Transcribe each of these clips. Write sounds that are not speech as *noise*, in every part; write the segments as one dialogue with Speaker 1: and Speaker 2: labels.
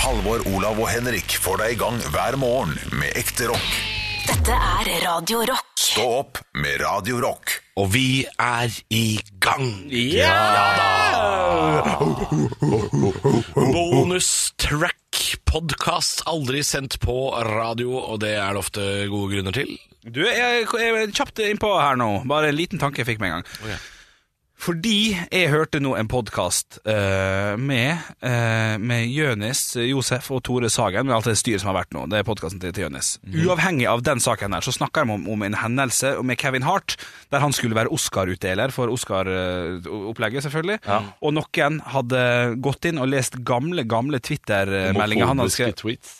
Speaker 1: Halvor, Olav og Henrik får deg i gang hver morgen med ekte rock.
Speaker 2: Dette er Radio Rock.
Speaker 1: Stå opp med Radio Rock.
Speaker 3: Og vi er i gang! Bonus track podcast aldri sendt på radio, og det er det ofte gode grunner til.
Speaker 4: Du, jeg, jeg kjapt innpå her nå. Bare en liten tanke jeg fikk med en gang. Fordi jeg hørte nå en podkast med, eh, med Jønis, Josef og Tore Sagen, med alt det styret som har vært nå. Det er podkasten til, til Jønis. Uavhengig av den saken her, så snakker de om, om en hendelse med Kevin Hart, der han skulle være Oscar-utdeler for Oscar-opplegget, selvfølgelig. Og noen hadde gått inn og lest gamle, gamle Twitter-meldinger han hadde skrevet.
Speaker 3: tweets.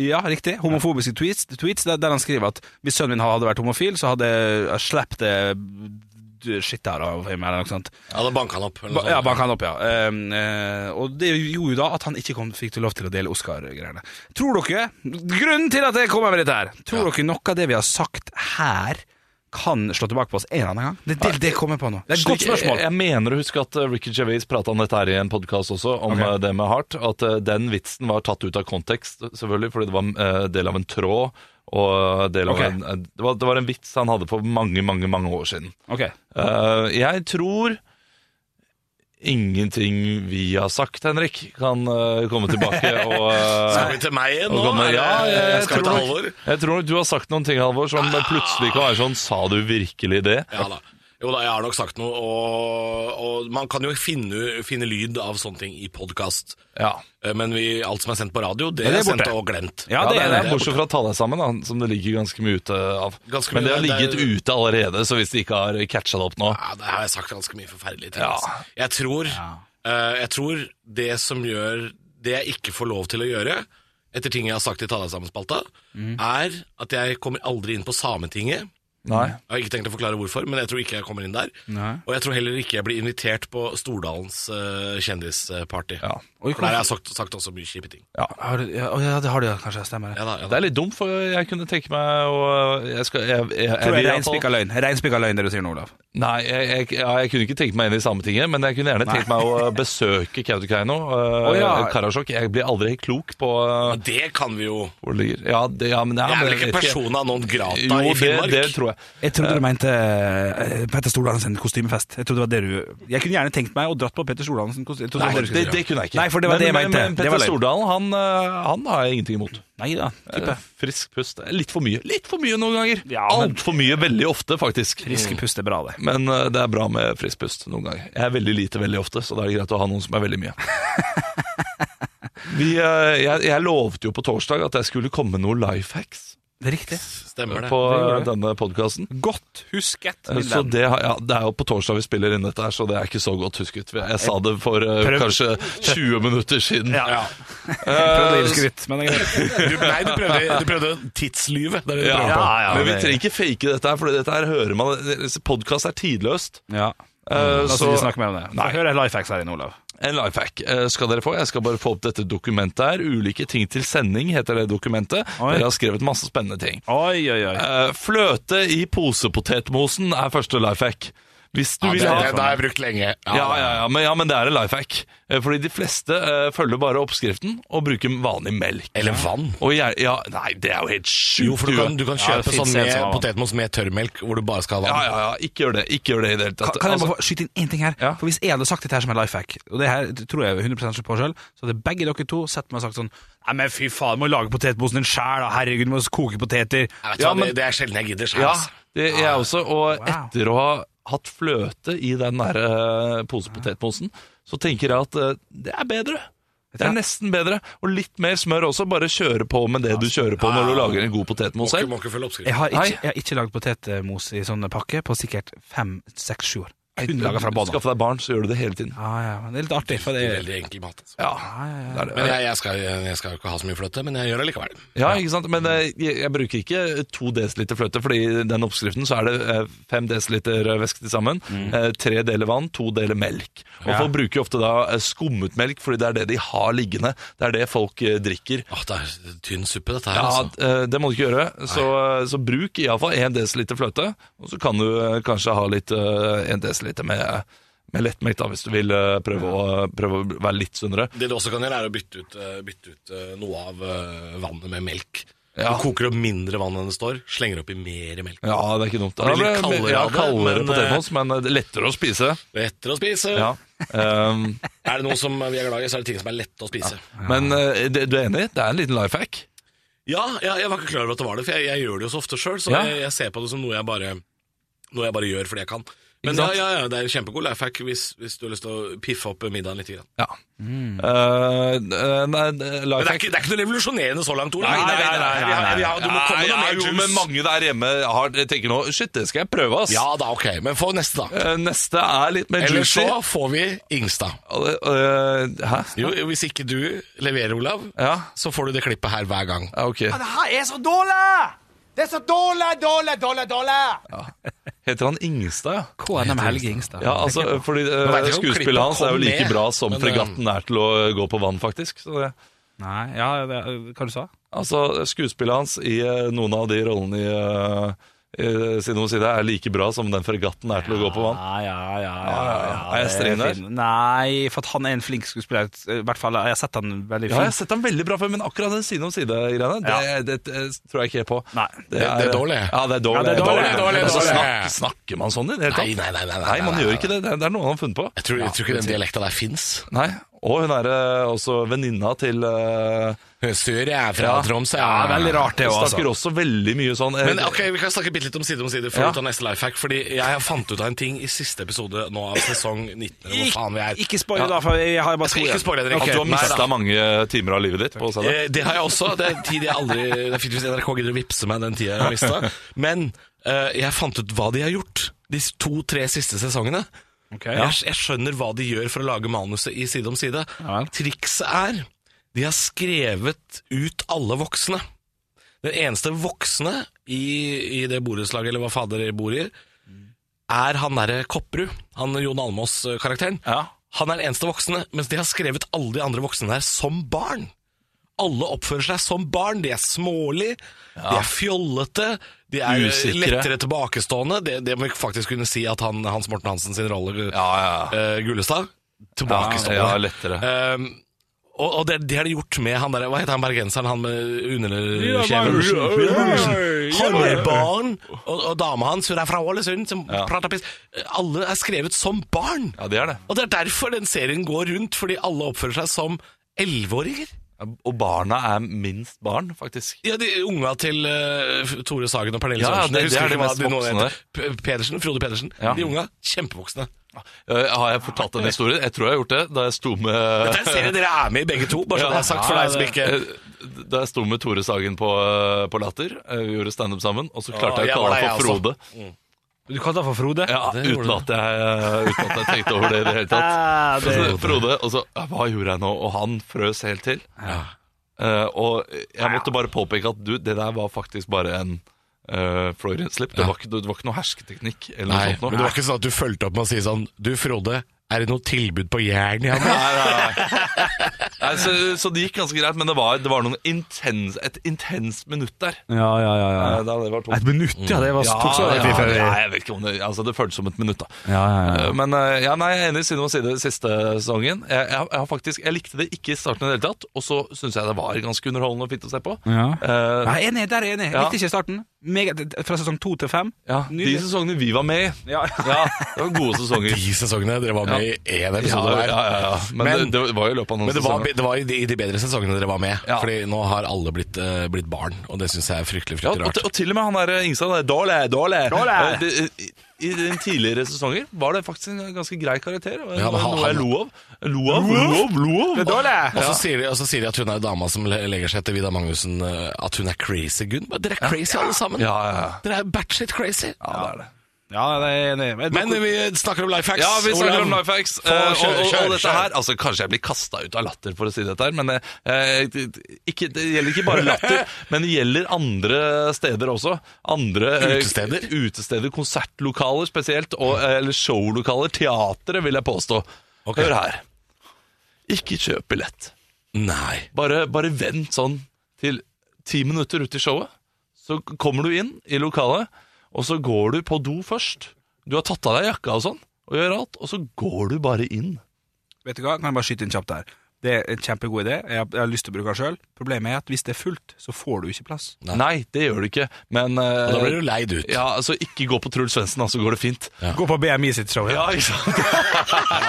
Speaker 4: Ja, riktig. Homofobiske tweets, tweets der, der han skriver at hvis sønnen min hadde vært homofil, så hadde jeg sluppet det skittet her av him, eller noe sånt.
Speaker 3: Ja, da banka han opp. eller
Speaker 4: Ba,
Speaker 3: noe
Speaker 4: ja,
Speaker 3: sånt.
Speaker 4: banka han opp, ja. Ehm, eh, og det gjorde jo da at han ikke kom, fikk lov til å dele Oscar-greiene. Tror dere Grunnen til at jeg kommer med dette her, tror dere noe av det vi har sagt her, kan slå tilbake på oss en eller annen gang? Det, det, det kommer jeg på nå. eh, Det er et godt spørsmål.
Speaker 5: eh, Jeg, jeg mener å huske at eh, Ricky Gervais prata om dette her i en podkast også, om eh, det med Hart. At eh, den vitsen var tatt ut av kontekst, selvfølgelig, fordi det var eh, del av en tråd. Og del av
Speaker 4: Ok.
Speaker 5: en, eh, det, var, det var en vits han hadde for mange, mange mange år siden.
Speaker 4: Ok.
Speaker 5: Eh, jeg tror ingenting vi har sagt, Henrik, kan eh, komme tilbake
Speaker 4: *laughs*
Speaker 5: og eh,
Speaker 3: Skal vi til meg igjen nå?
Speaker 5: og komme-
Speaker 3: eller?
Speaker 5: ja, jeg, jeg,
Speaker 3: skal vi til
Speaker 5: tror
Speaker 3: Halvor?
Speaker 5: nok, jeg tror nok du har sagt noen ting, Halvor, som eh, plutselig kan være sånn Sa du virkelig det?
Speaker 3: Ja da. Jo da, jeg har nok sagt noe, og, og man kan jo finne, finne lyd av sånne ting i podkast.
Speaker 5: Ja.
Speaker 3: Men vi, alt som er sendt på radio, det,
Speaker 4: det er
Speaker 3: er sendt
Speaker 4: borte.
Speaker 3: og glemt.
Speaker 4: Ja, det er det.
Speaker 5: Bortsett fra å ta deg sammen, da, som det ligger ganske mye ute av.
Speaker 3: Ganske
Speaker 5: Men det
Speaker 3: mye,
Speaker 5: har
Speaker 3: det er-
Speaker 5: ligget ute allerede, så hvis de ikke har catcha det opp nå
Speaker 3: Ja, det har jeg sagt ganske mye forferdelig til.
Speaker 5: Ja.
Speaker 3: altså. Jeg, tror, eh, jeg tror det som gjør Det jeg ikke får lov til å gjøre, etter ting jeg har sagt i Ta deg sammen-spalta,
Speaker 5: Mm.
Speaker 3: er at jeg kommer aldri inn på Sametinget.
Speaker 5: Nei.
Speaker 3: Jeg har ikke tenkt å forklare hvorfor, men jeg tror ikke jeg kommer inn der.
Speaker 4: Nei.
Speaker 3: Og jeg tror heller ikke jeg blir invitert på Stordalens eh, kjendisparty.
Speaker 5: Ja.
Speaker 4: Oi,
Speaker 3: For der har jeg sagt, sagt også mye kjipe ting.
Speaker 4: Har du, ja, å, ja, det har du, ja, kanskje. Stemmer det.
Speaker 3: Ja da, ja
Speaker 5: Det
Speaker 3: da.
Speaker 5: er litt dumt, for jeg kunne tenke meg å Jeg skal jeg, jeg,
Speaker 4: Tror jeg er
Speaker 5: jeg, vil i hvert fall-
Speaker 4: reinspikka løgn. Reinspikka løgn, det du sier nå, Olav.
Speaker 5: Nei, jeg, jeg, ja, jeg kunne ikke tenkt meg inn i Sametinget, men jeg kunne gjerne tenkt meg å
Speaker 4: *laughs*
Speaker 5: besøke Kautokeino. øh,
Speaker 4: Å, ja.
Speaker 5: Karasjok. Jeg blir aldri helt klok på øh,
Speaker 3: Men det kan vi jo.
Speaker 5: hvor det ligger. Ja, det, ja, men, ja,
Speaker 3: Jeg er
Speaker 5: men
Speaker 3: vel ikke
Speaker 5: vet
Speaker 3: persona non grata
Speaker 5: Jo,
Speaker 3: i
Speaker 5: det,
Speaker 3: Finnmark?
Speaker 5: det tror jeg.
Speaker 4: Jeg trodde du mente eh, Petter Stordalen sin kostymefest. Jeg trodde det var det du Jeg kunne gjerne tenkt meg å dratt på Petter Stordalen sin kostymefest.
Speaker 5: Nei, det, det kunne jeg ikke.
Speaker 4: Nei, for det var
Speaker 5: men,
Speaker 4: det jeg mente.
Speaker 5: Men, men
Speaker 4: Det var
Speaker 5: Petter
Speaker 4: løgn.
Speaker 5: Stordalen, han, øh, han har jeg ingenting imot.
Speaker 4: Nei da, type.
Speaker 5: Eh. Frisk pust. Litt for mye. Litt for mye noen ganger.
Speaker 4: Ja, men-
Speaker 5: Alt for mye veldig ofte, faktisk. Mm.
Speaker 4: Friske pust er bra, det.
Speaker 5: Men eh, det er bra med frisk pust noen ganger. Jeg er veldig lite veldig ofte, så da er det greit å ha noen som er veldig
Speaker 4: *laughs*
Speaker 5: mye. Vi, eh, jeg, jeg lovte jo på torsdag at jeg skulle komme med noen life hacks
Speaker 4: Det er riktig.
Speaker 3: Stemmer det.
Speaker 5: på eh,
Speaker 4: det gjorde du.
Speaker 5: denne podkasten.
Speaker 4: Godt husket. min
Speaker 5: Eh, Så
Speaker 4: venn.
Speaker 5: det, har- ja, det er jo på torsdag vi spiller inn dette her, så det er ikke så godt husket. Jeg sa det for eh,
Speaker 4: Prøv-
Speaker 5: kanskje 20 minutter siden. Eh,
Speaker 4: Ja.
Speaker 3: Ja.
Speaker 4: Prøvde å gi skryt, men det er greit.
Speaker 3: Du, nei, du prøvde, du prøvde
Speaker 5: *laughs*
Speaker 3: tidslyvet. Det er det du
Speaker 5: Ja,
Speaker 3: prøver på.
Speaker 5: men vi trenger ikke fake dette her, for dette her hører man Podkast er tidløst.
Speaker 4: Ja.
Speaker 5: Eh,
Speaker 4: La oss
Speaker 5: så
Speaker 4: ikke snakke mer om det. Nei. Hør en life hacks her inne, Olav.
Speaker 5: en life hack eh, skal dere få. Jeg skal bare få opp dette dokumentet her. Ulike ting til sending heter det dokumentet.
Speaker 4: Oi.
Speaker 5: Dere har skrevet masse spennende ting.
Speaker 4: Oi, oi, oi.
Speaker 5: Eh, fløte i posepotetmosen er første life hack. Hvis du
Speaker 3: Ja,
Speaker 5: vil
Speaker 3: det,
Speaker 5: ha
Speaker 3: det, det har jeg brukt lenge.
Speaker 5: ja, ja, ja, men, ja, men det er en life hack. Eh, Fordi de fleste eh, følger bare oppskriften og bruker vanlig melk.
Speaker 3: Eller vann.
Speaker 5: Og jeg, ja, nei, det er jo helt sjukt.
Speaker 3: Jo, for du kan, du kan
Speaker 4: Ja, det
Speaker 3: kjøpe
Speaker 4: finnes
Speaker 3: sånn
Speaker 4: en
Speaker 3: med
Speaker 4: som har vann.
Speaker 3: potetmos med tørrmelk, hvor du bare skal ha
Speaker 5: Ja,
Speaker 3: vann.
Speaker 5: ja, ja, ikke gjør det. Ikke gjør det i det hele tatt.
Speaker 4: Kan, kan jeg
Speaker 5: Altså-
Speaker 4: bare få skyte inn én ting her?
Speaker 5: Ja.
Speaker 4: For Hvis jeg hadde sagt dette her som en life hack, og det her tror jeg 100 på selv så hadde begge dere to sett meg og sagt sånn Nei, men fy faen, du må lage potetmosen din sjæl, da. Herregud, du må koke poteter.
Speaker 3: Jeg vet
Speaker 5: Ja,
Speaker 3: hva,
Speaker 5: men-
Speaker 3: det, det er sjelden jeg gidder selv.
Speaker 5: Ja,
Speaker 3: altså.
Speaker 5: det er jeg også. Og
Speaker 4: Wow.
Speaker 5: etter å ha hatt fløte i den der eh, posepotetmosen, så tenker jeg at eh, det er bedre. Det er nesten bedre. Og litt mer smør også. Bare kjøre på med det du kjører på når du lager en god potetmos
Speaker 3: Må ikke-
Speaker 5: selv.
Speaker 3: Må ikke følge oppskriften.
Speaker 4: Jeg har ikke,
Speaker 5: Nei.
Speaker 4: jeg har ikke lagd potetmos i sånne pakke på sikkert fem, seks, sju år. Kun laget fra bånn.
Speaker 5: Skaffe deg barn, så gjør du det hele tiden.
Speaker 4: Ah, ja, men det er litt artig, for det er
Speaker 3: Veldig enkel mat. Altså.
Speaker 5: Ja, det er
Speaker 3: Men
Speaker 5: det.
Speaker 3: jeg, jeg, skal, jeg skal jo ikke ha så mye fløte, men jeg gjør det likevel.
Speaker 5: ja ikke sant? Men eh, jeg, jeg bruker ikke 2 dl fløte, Fordi i den oppskriften så er det eh, 5 dl eh, væske til sammen.
Speaker 3: Mm.
Speaker 5: 3 deler vann, 2 deler melk. Og Folk bruker jo ofte da eh, skummet melk, fordi det er det de har liggende. Det er det folk eh, drikker.
Speaker 3: Åh, det er tynn suppe, dette her.
Speaker 5: Ja,
Speaker 3: altså.
Speaker 5: eh, det må du ikke gjøre. Så, så bruk iallfall 1 dl fløte, og så kan du eh, kanskje ha litt eh, 1 dl eh, med, med lettmelk, da, hvis du vil eh, prøve, å, prøve å være litt sunnere.
Speaker 3: Det du også kan gjøre, er å bytte ut, eh, bytte ut eh, noe av eh, vannet med melk.
Speaker 5: Ja.
Speaker 3: Du koker opp mindre vann enn det står, slenger oppi mer melk.
Speaker 5: Ja, det er ikke dumt.
Speaker 3: Det blir litt
Speaker 5: Ja, men-
Speaker 3: kaldere
Speaker 5: ja,
Speaker 3: av det,
Speaker 5: kaldere
Speaker 3: men,
Speaker 5: på
Speaker 3: eh,
Speaker 5: Temos, men eh, det er lettere å spise.
Speaker 3: Lettere å spise.
Speaker 5: Ja. Ehm,
Speaker 3: Er det noe som vi er glad i, så er det ting som er lette å spise.
Speaker 5: men eh, det, du er enig? Det er en liten life hack.
Speaker 3: Ja, ja jeg var ikke klar over at det var det, for jeg, jeg gjør det jo så ofte sjøl. Så
Speaker 5: Ja.
Speaker 3: jeg, jeg ser på det som noe jeg bare, noe jeg bare gjør fordi jeg kan. Men
Speaker 5: Ikke
Speaker 3: ja,
Speaker 5: sant?
Speaker 3: ja, ja, det er en kjempegod life hack hvis, hvis du har lyst til å piffe opp middagen litt. Grann.
Speaker 5: Ja.
Speaker 3: Mm.
Speaker 5: Eh, eh, nei,
Speaker 3: Men
Speaker 5: life
Speaker 3: det er,
Speaker 5: hack
Speaker 3: ikke, det er ikke noe revolusjonerende så langt, Ole.
Speaker 5: Nei, nei, nei,
Speaker 3: Vi har- vi har- Du må komme noe
Speaker 5: Nei, jeg er
Speaker 3: mer
Speaker 5: jo
Speaker 3: juice.
Speaker 5: med mange der hjemme har, jeg tenker nå Shit, det skal jeg prøve, ass.
Speaker 3: Ja da, ok. Men få neste, da.
Speaker 5: Eh, Neste er litt mer
Speaker 3: Eller
Speaker 5: juicy.
Speaker 3: så får vi Ingstad.
Speaker 5: Eh, eh, Hæ?
Speaker 3: Jo, jo, hvis ikke du leverer, Olav,
Speaker 5: Ja,
Speaker 3: så får du det klippet her hver gang.
Speaker 5: ja ok.
Speaker 6: Det her er så dårlig! Det er så dårlig, dårlig, dårlig, dårlig!
Speaker 5: Heter han Ingstad, ja?
Speaker 4: KNM Helge Ingstad.
Speaker 5: Ja, altså, fordi
Speaker 3: vet
Speaker 5: eh,
Speaker 3: jeg ikke om klippet
Speaker 5: Skuespillet hans er jo
Speaker 3: kom
Speaker 5: like
Speaker 3: med,
Speaker 5: bra som
Speaker 3: men, eh,
Speaker 5: fregatten er til å gå på vann, faktisk. Så det,
Speaker 4: Nei, ja, det, hva du sa
Speaker 5: altså, Skuespillet hans i eh, noen av de rollene i, eh, i Side om side er like bra som den fregatten er til å gå på vann.
Speaker 4: Ja, ja, ja,
Speaker 5: ja, ja. Er jeg
Speaker 4: det
Speaker 5: streng der?
Speaker 4: fint. Nei, for at han er en flink skuespiller. I hvert fall, jeg har sett han veldig
Speaker 5: Ja, jeg har
Speaker 4: flink.
Speaker 5: sett ham veldig bra før, men akkurat den side om side-greiene, det, det, eh, tror jeg ikke helt på.
Speaker 4: Nei.
Speaker 3: Det- det er dårlig.
Speaker 5: Ja, det er dårlig.
Speaker 4: Ja, det er dårlig, dårlig,
Speaker 5: Altså,
Speaker 3: dårlig.
Speaker 5: snakker, snakker man sånn i det hele tatt?
Speaker 3: Nei, nei, nei, nei, nei,
Speaker 5: Nei,
Speaker 3: nei,
Speaker 5: man
Speaker 3: nei,
Speaker 5: gjør ikke det. Det er- Det er noe han har funnet på.
Speaker 3: Jeg tror, jeg tror ikke den dialekta der fins.
Speaker 5: Nei, og hun er eh, også venninna til eh,
Speaker 3: Sur, jeg er fra
Speaker 5: Ja.
Speaker 3: Troms.
Speaker 4: Ja, veldig rart det
Speaker 5: Hun
Speaker 4: også,
Speaker 5: snakker
Speaker 4: altså.
Speaker 5: også veldig mye sånn eh,
Speaker 3: Men ok, Vi kan snakke bitte litt om side om side før
Speaker 5: Ja.
Speaker 3: vi tar neste lifehack Fordi jeg fant ut av en ting i siste episode nå av sesong 19. eller Hvor faen vi er
Speaker 4: Ikke spoil, da, for jeg har bare
Speaker 3: skal ikke spoile det,
Speaker 5: At
Speaker 3: Erik.
Speaker 5: du har
Speaker 3: Nei,
Speaker 5: mista
Speaker 3: da.
Speaker 5: mange timer av livet ditt på å se det.
Speaker 3: Eh, Det har jeg også. Det er tid jeg aldri Det er fint hvis NRK gidder å vippse meg den tida jeg har mista.
Speaker 4: *laughs*
Speaker 3: Men eh, jeg fant ut hva de har gjort de to-tre siste sesongene.
Speaker 4: Ja.
Speaker 3: Jeg, jeg skjønner hva de gjør for å lage manuset i Side om side.
Speaker 4: Ja vel.
Speaker 3: Trikset er de har skrevet ut alle voksne. Den eneste voksne i, i det borettslaget, eller hva fader de bor i, er han derre Kopperud. Han Jon eh, Almås-karakteren.
Speaker 5: Ja.
Speaker 3: Han er den eneste voksne, mens de har skrevet alle de andre voksne der som barn. Alle oppfører seg som barn. De er smålige, de er fjollete, de er
Speaker 5: Usikre.
Speaker 3: lettere tilbakestående. Det, det må vi faktisk kunne si at han, Hans Morten Hansen sin rolle,
Speaker 5: Ja, ja, ja.
Speaker 3: eh, Gullestad, tilbakestående.
Speaker 5: ja, lettere.
Speaker 3: Ehm, og, og det, det har de gjort med han der Hva heter han bergenseren, han med underkjeven? Han er barn! Og, og dama hans, hun er fra Ålesund, som prater piss. Alle er skrevet som barn!
Speaker 5: Ja, det er det.
Speaker 3: Og det er derfor den serien går rundt, fordi alle oppfører seg som elleveåringer.
Speaker 5: Og barna er minst barn, faktisk.
Speaker 3: Ja, de unga til eh, Tore Sagen og Pernille
Speaker 5: Ja,
Speaker 3: Sørensen.
Speaker 5: det-
Speaker 3: Jeg husker
Speaker 5: det er de
Speaker 3: ikke hva
Speaker 5: mest
Speaker 3: nå
Speaker 5: voksne
Speaker 3: heter. P- Pedersen, Frode Pedersen.
Speaker 5: Ja.
Speaker 3: De unga, kjempevoksne.
Speaker 5: Eh, Har jeg fortalt en historie? Jeg tror jeg har gjort det. Da jeg sto
Speaker 3: Det er en
Speaker 5: med
Speaker 3: serie dere er med i begge to, bare så
Speaker 5: Ja.
Speaker 3: det er sagt for deg som ikke
Speaker 5: Eh, Da jeg sto med Tore Sagen på, eh, på Latter, eh, vi gjorde standup sammen, og så klarte jeg
Speaker 3: jeg
Speaker 5: å
Speaker 3: var
Speaker 5: kalle
Speaker 3: der,
Speaker 5: ham
Speaker 3: jeg
Speaker 5: for
Speaker 3: også.
Speaker 5: Frode.
Speaker 4: Du kalte han for Frode?
Speaker 5: Ja,
Speaker 3: det gjorde
Speaker 5: uten at, jeg, eh, uten at jeg tenkte over det i det hele
Speaker 3: *laughs*
Speaker 5: tatt.
Speaker 4: Ah,
Speaker 5: Og
Speaker 4: det,
Speaker 5: så Frode, og så ja, Hva gjorde jeg nå? Og han frøs helt til. Eh, og jeg måtte bare påpeke at du, det der var faktisk bare en uh, Florian slip. Det, var ikke, det var ikke noe hersketeknikk eller noe
Speaker 3: Nei,
Speaker 5: sånt.
Speaker 3: men
Speaker 5: Noe.
Speaker 3: det var ikke sånn at du fulgte opp med å si sånn Du, Frode, er det noe tilbud på jern? Ja, men?
Speaker 5: Nei, nei, nei. Nei, så, så det gikk ganske greit, men det var, det var noen intens, et intenst minutt der.
Speaker 4: ja, ja, ja, ja.
Speaker 5: Eh, Da det var to.
Speaker 4: Et minutt, ja. Det var, tok så lang tid før vi
Speaker 5: ja, jeg vet ikke om det altså, Det føltes som et minutt, da.
Speaker 4: Ja, ja, ja.
Speaker 5: Eh, Men eh, ja, nei, jeg er enig side om side siste sesongen. Jeg, jeg, jeg, har faktisk, jeg likte det ikke i starten i det hele tatt, og så syns jeg det var ganske underholdende og fint å se på.
Speaker 4: Ja.
Speaker 5: Eh,
Speaker 4: Nei, enig, der er jeg enig.
Speaker 5: Ja.
Speaker 4: Likte ikke starten. Meget, fra sesong to til fem.
Speaker 5: ja, de
Speaker 4: Nydelig.
Speaker 5: sesongene vi var med i.
Speaker 4: Ja.
Speaker 5: Ja, det var gode sesonger.
Speaker 3: De sesongene dere var med i én episode
Speaker 5: ja,
Speaker 3: hver.
Speaker 5: ja, ja, ja. Men,
Speaker 3: Men-
Speaker 5: det, det var jo i løpet av noen
Speaker 3: Men det var,
Speaker 5: sesonger.
Speaker 3: det var i, de, i de bedre sesongene dere var med.
Speaker 5: Ja.
Speaker 3: Fordi nå har alle blitt, eh, blitt barn, og det syns jeg er fryktelig
Speaker 5: Ja,
Speaker 3: fryktelig
Speaker 5: og,
Speaker 3: rart.
Speaker 5: og til og med han der eh, Ingstad der, Dårlig, dårlig.
Speaker 4: Dårlig.
Speaker 5: Eh, det- I i den tidligere sesonger var det faktisk en ganske grei karakter. og
Speaker 3: Ja, men han-
Speaker 5: noe jeg
Speaker 3: han-
Speaker 5: lo av. Lo av, lo av, lo av.
Speaker 3: Og så sier, de- og så sier de at hun er dama som le- legger seg etter Vidar Magnussen, eh, at hun er crazy, Gunn. Men Dere er crazy alle sammen.
Speaker 5: Ja, ja, ja.
Speaker 3: Dere er batshit crazy.
Speaker 5: ja, det er det.
Speaker 4: Ja, det er jeg enig. i. Men,
Speaker 3: Men vi snakker om life hacks.
Speaker 5: Ja, vi
Speaker 3: Olav.
Speaker 5: snakker om life hacks.
Speaker 3: Få,
Speaker 5: eh,
Speaker 3: kjør,
Speaker 5: og, og,
Speaker 3: kjør,
Speaker 5: og dette
Speaker 3: kjør.
Speaker 5: her, altså Kanskje jeg blir kasta ut av latter for å si dette her, men eh, det- ikke, det gjelder ikke bare latter, men det gjelder andre steder også. Andre eh,
Speaker 3: Utesteder?
Speaker 5: utesteder, konsertlokaler spesielt, og, eh, eller showlokaler, teatret, vil jeg påstå. Hør her. Ikke kjøp billett.
Speaker 3: Nei.
Speaker 5: Bare, bare vent sånn til ti minutter ut i showet. Så kommer du inn i lokalet, og så går du på do først. Du har tatt av deg jakka og sånn, og og gjør alt, og så går du bare inn.
Speaker 4: Vet du hva, kan jeg bare skyte inn kjapt der. Det er en kjempegod idé. Jeg har, jeg har lyst til å bruke den sjøl. Problemet er at hvis det er fullt, så får du ikke plass.
Speaker 5: Nei, det gjør du ikke, men eh,
Speaker 3: Og da blir du leid ut.
Speaker 5: Ja, altså ikke gå på Truls Svendsen, da, så går det fint.
Speaker 4: Gå på BMI sitt show.
Speaker 5: Ja, ikke
Speaker 3: *laughs*
Speaker 5: sant?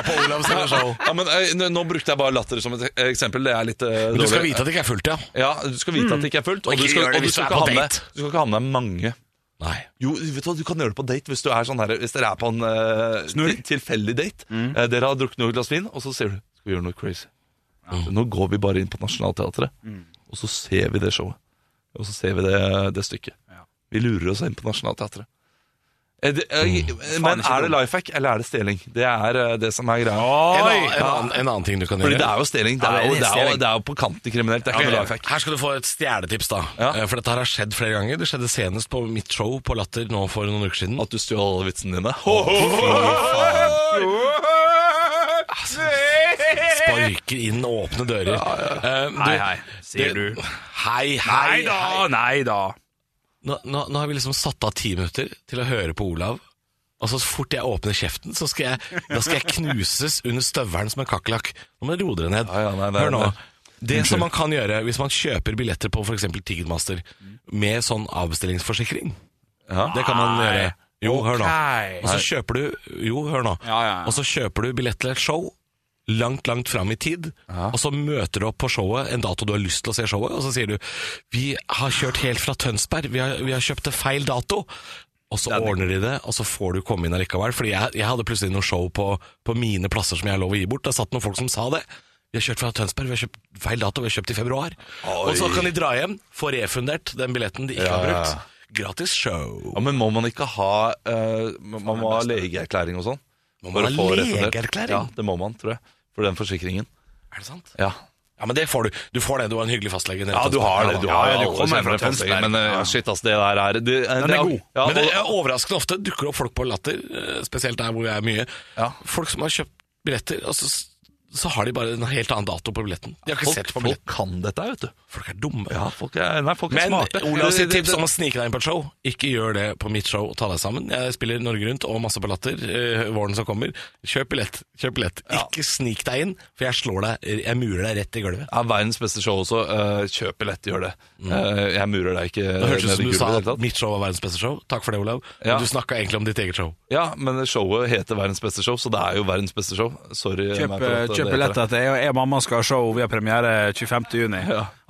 Speaker 3: på Olavs show.
Speaker 5: Ja, men eh, nå- Nå brukte jeg bare latter som et eksempel. Det er litt eh,
Speaker 3: Men du skal
Speaker 5: dårlig.
Speaker 3: vite at det ikke er fullt, ja.
Speaker 5: Ja, du skal vite at det ikke er fullt.
Speaker 3: Og
Speaker 5: Og, du
Speaker 3: ikke
Speaker 5: skal,
Speaker 3: gjør det
Speaker 5: og du,
Speaker 3: hvis
Speaker 5: skal
Speaker 3: du er
Speaker 5: ikke
Speaker 3: på
Speaker 5: ha med,
Speaker 3: date.
Speaker 5: du skal ikke ha med deg mange.
Speaker 3: Nei.
Speaker 5: Jo, vet du hva, du kan gjøre det på date hvis du er sånn her Hvis dere er på en eh,
Speaker 4: Snurr. Mm.
Speaker 5: til- tilfeldig date. Eh, dere har drukket noen glass vin, og så sier du Skal vi gjøre noe crazy? Nå går vi bare inn på Nationaltheatret,
Speaker 4: Mm.
Speaker 5: og så ser vi det showet. Og så ser vi det, det stykket. Vi lurer oss inn på Nationaltheatret. Eh, det- eh, Men
Speaker 4: Mm. ikke
Speaker 5: er det life hack, eller er det stjeling? Det er eh, det som er
Speaker 3: En
Speaker 5: greia.
Speaker 4: Oi!
Speaker 3: annen, en, annen, en annen ting du kan
Speaker 5: Fordi
Speaker 3: gjøre
Speaker 5: det er jo stjeling. Det
Speaker 4: Ja,
Speaker 5: er
Speaker 4: det er
Speaker 5: jo, det er jo,
Speaker 4: stjeling.
Speaker 5: det er jo på kanten til kriminelt. Det er
Speaker 3: Ok,
Speaker 5: ikke noe life hack.
Speaker 3: Her skal du få et stjernetips, da.
Speaker 5: Ja.
Speaker 3: Eh, For dette her har skjedd flere ganger. Det skjedde senest på mitt show på Latter nå for noen uker siden.
Speaker 5: At du stjal alle vitsene dine.
Speaker 4: Altså,
Speaker 3: Sparker inn åpne dører. Eh, du-
Speaker 4: Hei, hei, sier
Speaker 3: det-
Speaker 4: du.
Speaker 3: Hei,
Speaker 4: Nei
Speaker 3: hei.
Speaker 4: da,
Speaker 3: hei.
Speaker 4: nei da.
Speaker 3: Nå, nå, nå har vi liksom satt av ti minutter til å høre på Olav. Og så fort jeg åpner kjeften, så skal jeg, da skal jeg knuses under støvelen som en kakerlakk. Nå må dere roe dere ned.
Speaker 5: Ja, ja, nei, det er-
Speaker 3: Hør nå.
Speaker 5: det-
Speaker 3: Det som man kan gjøre hvis man kjøper billetter på f.eks. Ticketmaster med sånn avbestillingsforsikring
Speaker 5: Ja.
Speaker 3: Det kan man gjøre. Jo, hør nå.
Speaker 4: Ok.
Speaker 3: Og så kjøper du Jo, hør nå.
Speaker 4: Ja, ja, ja.
Speaker 3: Og så kjøper du billett til et show langt, langt fram i tid, og så møter du opp på showet en dato du har lyst til å se showet, og så sier du 'Vi har kjørt helt fra Tønsberg, vi har, vi har kjøpt til feil dato'. Og så ordner de det, og så får du komme inn allikevel. Fordi jeg, jeg hadde plutselig noen show på, på mine plasser som jeg har lov å gi bort. Det satt noen folk som sa det. Vi har kjørt fra Tønsberg, vi har kjøpt feil dato, vi har kjøpt i februar. Og så kan de dra hjem, få refundert den billetten de ikke har
Speaker 5: ja, ja.
Speaker 3: brukt. Gratis show.
Speaker 5: Ja, men må man ikke ha eh, Man må ha legeerklæring og sånn?
Speaker 3: Må
Speaker 5: For
Speaker 3: man
Speaker 5: å
Speaker 3: ha
Speaker 5: få refundert.
Speaker 3: legeerklæring?
Speaker 5: Ja, det må man, tror jeg. For den forsikringen.
Speaker 3: Er det sant?
Speaker 5: Ja,
Speaker 3: Ja, men det får du. Du får det, du har en hyggelig fastlege. nede i
Speaker 5: ja du har det.
Speaker 3: Tønsberg.
Speaker 5: Du
Speaker 3: Ja,
Speaker 5: har
Speaker 4: ja,
Speaker 5: jo
Speaker 4: du
Speaker 5: alle
Speaker 4: kommer
Speaker 5: kjenner
Speaker 4: fra
Speaker 5: den forsikringen,
Speaker 4: Tønsberg.
Speaker 5: Men eh,
Speaker 4: Ja.
Speaker 5: shit, ass, det der er det, Den
Speaker 4: er god.
Speaker 5: Ja,
Speaker 3: men det
Speaker 5: og,
Speaker 3: er overraskende ofte dukker det opp folk på latter, eh, spesielt der hvor jeg er mye.
Speaker 5: Ja.
Speaker 3: Folk som har kjøpt billetter, og så, så har de bare en helt annen dato på billetten. De har ikke
Speaker 5: folk,
Speaker 3: sett på
Speaker 5: folk
Speaker 3: billetten.
Speaker 5: kan dette, vet du.
Speaker 3: Folk er dumme.
Speaker 5: Ja, folk er, nei, folk er
Speaker 3: Men
Speaker 5: smarte.
Speaker 3: Olav sitt
Speaker 5: Det- det-
Speaker 3: tips om å snike deg inn på et show, ikke gjør det på mitt show. Ta deg sammen. Jeg spiller Norge Rundt og masse på Latter eh, våren som kommer. Kjøp billett. kjøp billett Ikke snik deg inn, for jeg slår deg Jeg murer deg rett i gulvet.
Speaker 5: er verdens beste show også. eh, kjøp billett, gjør det. Eh, jeg murer deg ikke
Speaker 3: Mm. Det hørtes ut
Speaker 5: ned i
Speaker 3: som du
Speaker 5: gulvet
Speaker 3: sa
Speaker 5: i det hele
Speaker 3: at
Speaker 5: tatt.
Speaker 3: mitt show var verdens beste show. Takk for det, Olav.
Speaker 5: Ja.
Speaker 3: Men du snakka egentlig om ditt eget show.
Speaker 5: Ja, men showet heter Verdens beste show, så det er jo verdens beste show. Sorry. meg
Speaker 4: Kjøp, eh,
Speaker 3: eh,
Speaker 5: for at det
Speaker 4: kjøp
Speaker 5: heter det.
Speaker 4: billetter til jeg og jeg og mamma skal ha show. Vi har premiere 25. juni.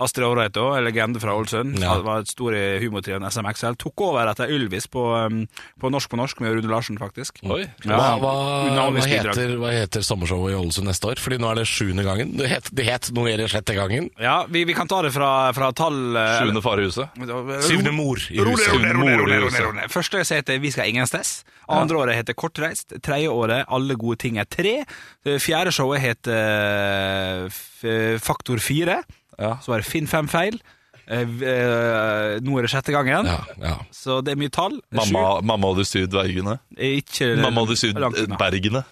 Speaker 4: Astrid Aareit, også, en legende fra Ålesund.
Speaker 3: Ja.
Speaker 4: Han Var et stor eh, i humortrioen SMXL. Tok over etter Ylvis på, um, på Norsk på norsk med Rune Larsen, faktisk.
Speaker 5: Oi.
Speaker 4: Ja.
Speaker 3: Hva, hva, hva,
Speaker 4: Unavnlig bidrag.
Speaker 3: heter, hva heter sommershowet i Ålesund neste år? Fordi nå er det sjuende gangen. Det het, det het noe i det sjette gangen.
Speaker 4: Ja, vi, vi kan ta det fra, fra tall eh,
Speaker 5: Sjuende fare i huset.
Speaker 4: eller-
Speaker 3: Syvende mor i
Speaker 4: Ro ned, ro
Speaker 3: huset.
Speaker 4: ned, ro ned, ro ned, ro
Speaker 5: Syvende mor i
Speaker 4: ned, ro ned. Første året heter Vi skal ingen stess. Andre året heter Kortreist. Tredje året Alle gode ting er tre. Det Fjerde showet heter eh, F- Faktor fire.
Speaker 5: Ja.
Speaker 4: Så var det Finn fem feil. Eh, v- eh, Nå er det sjette gangen.
Speaker 3: Ja, ja.
Speaker 4: Så det er mye tall.
Speaker 5: Mamma, mamma og de syv dvergene.
Speaker 4: Sju. Eh, Ikke
Speaker 5: Mamma og de syv
Speaker 4: Langt unna.
Speaker 5: bergene.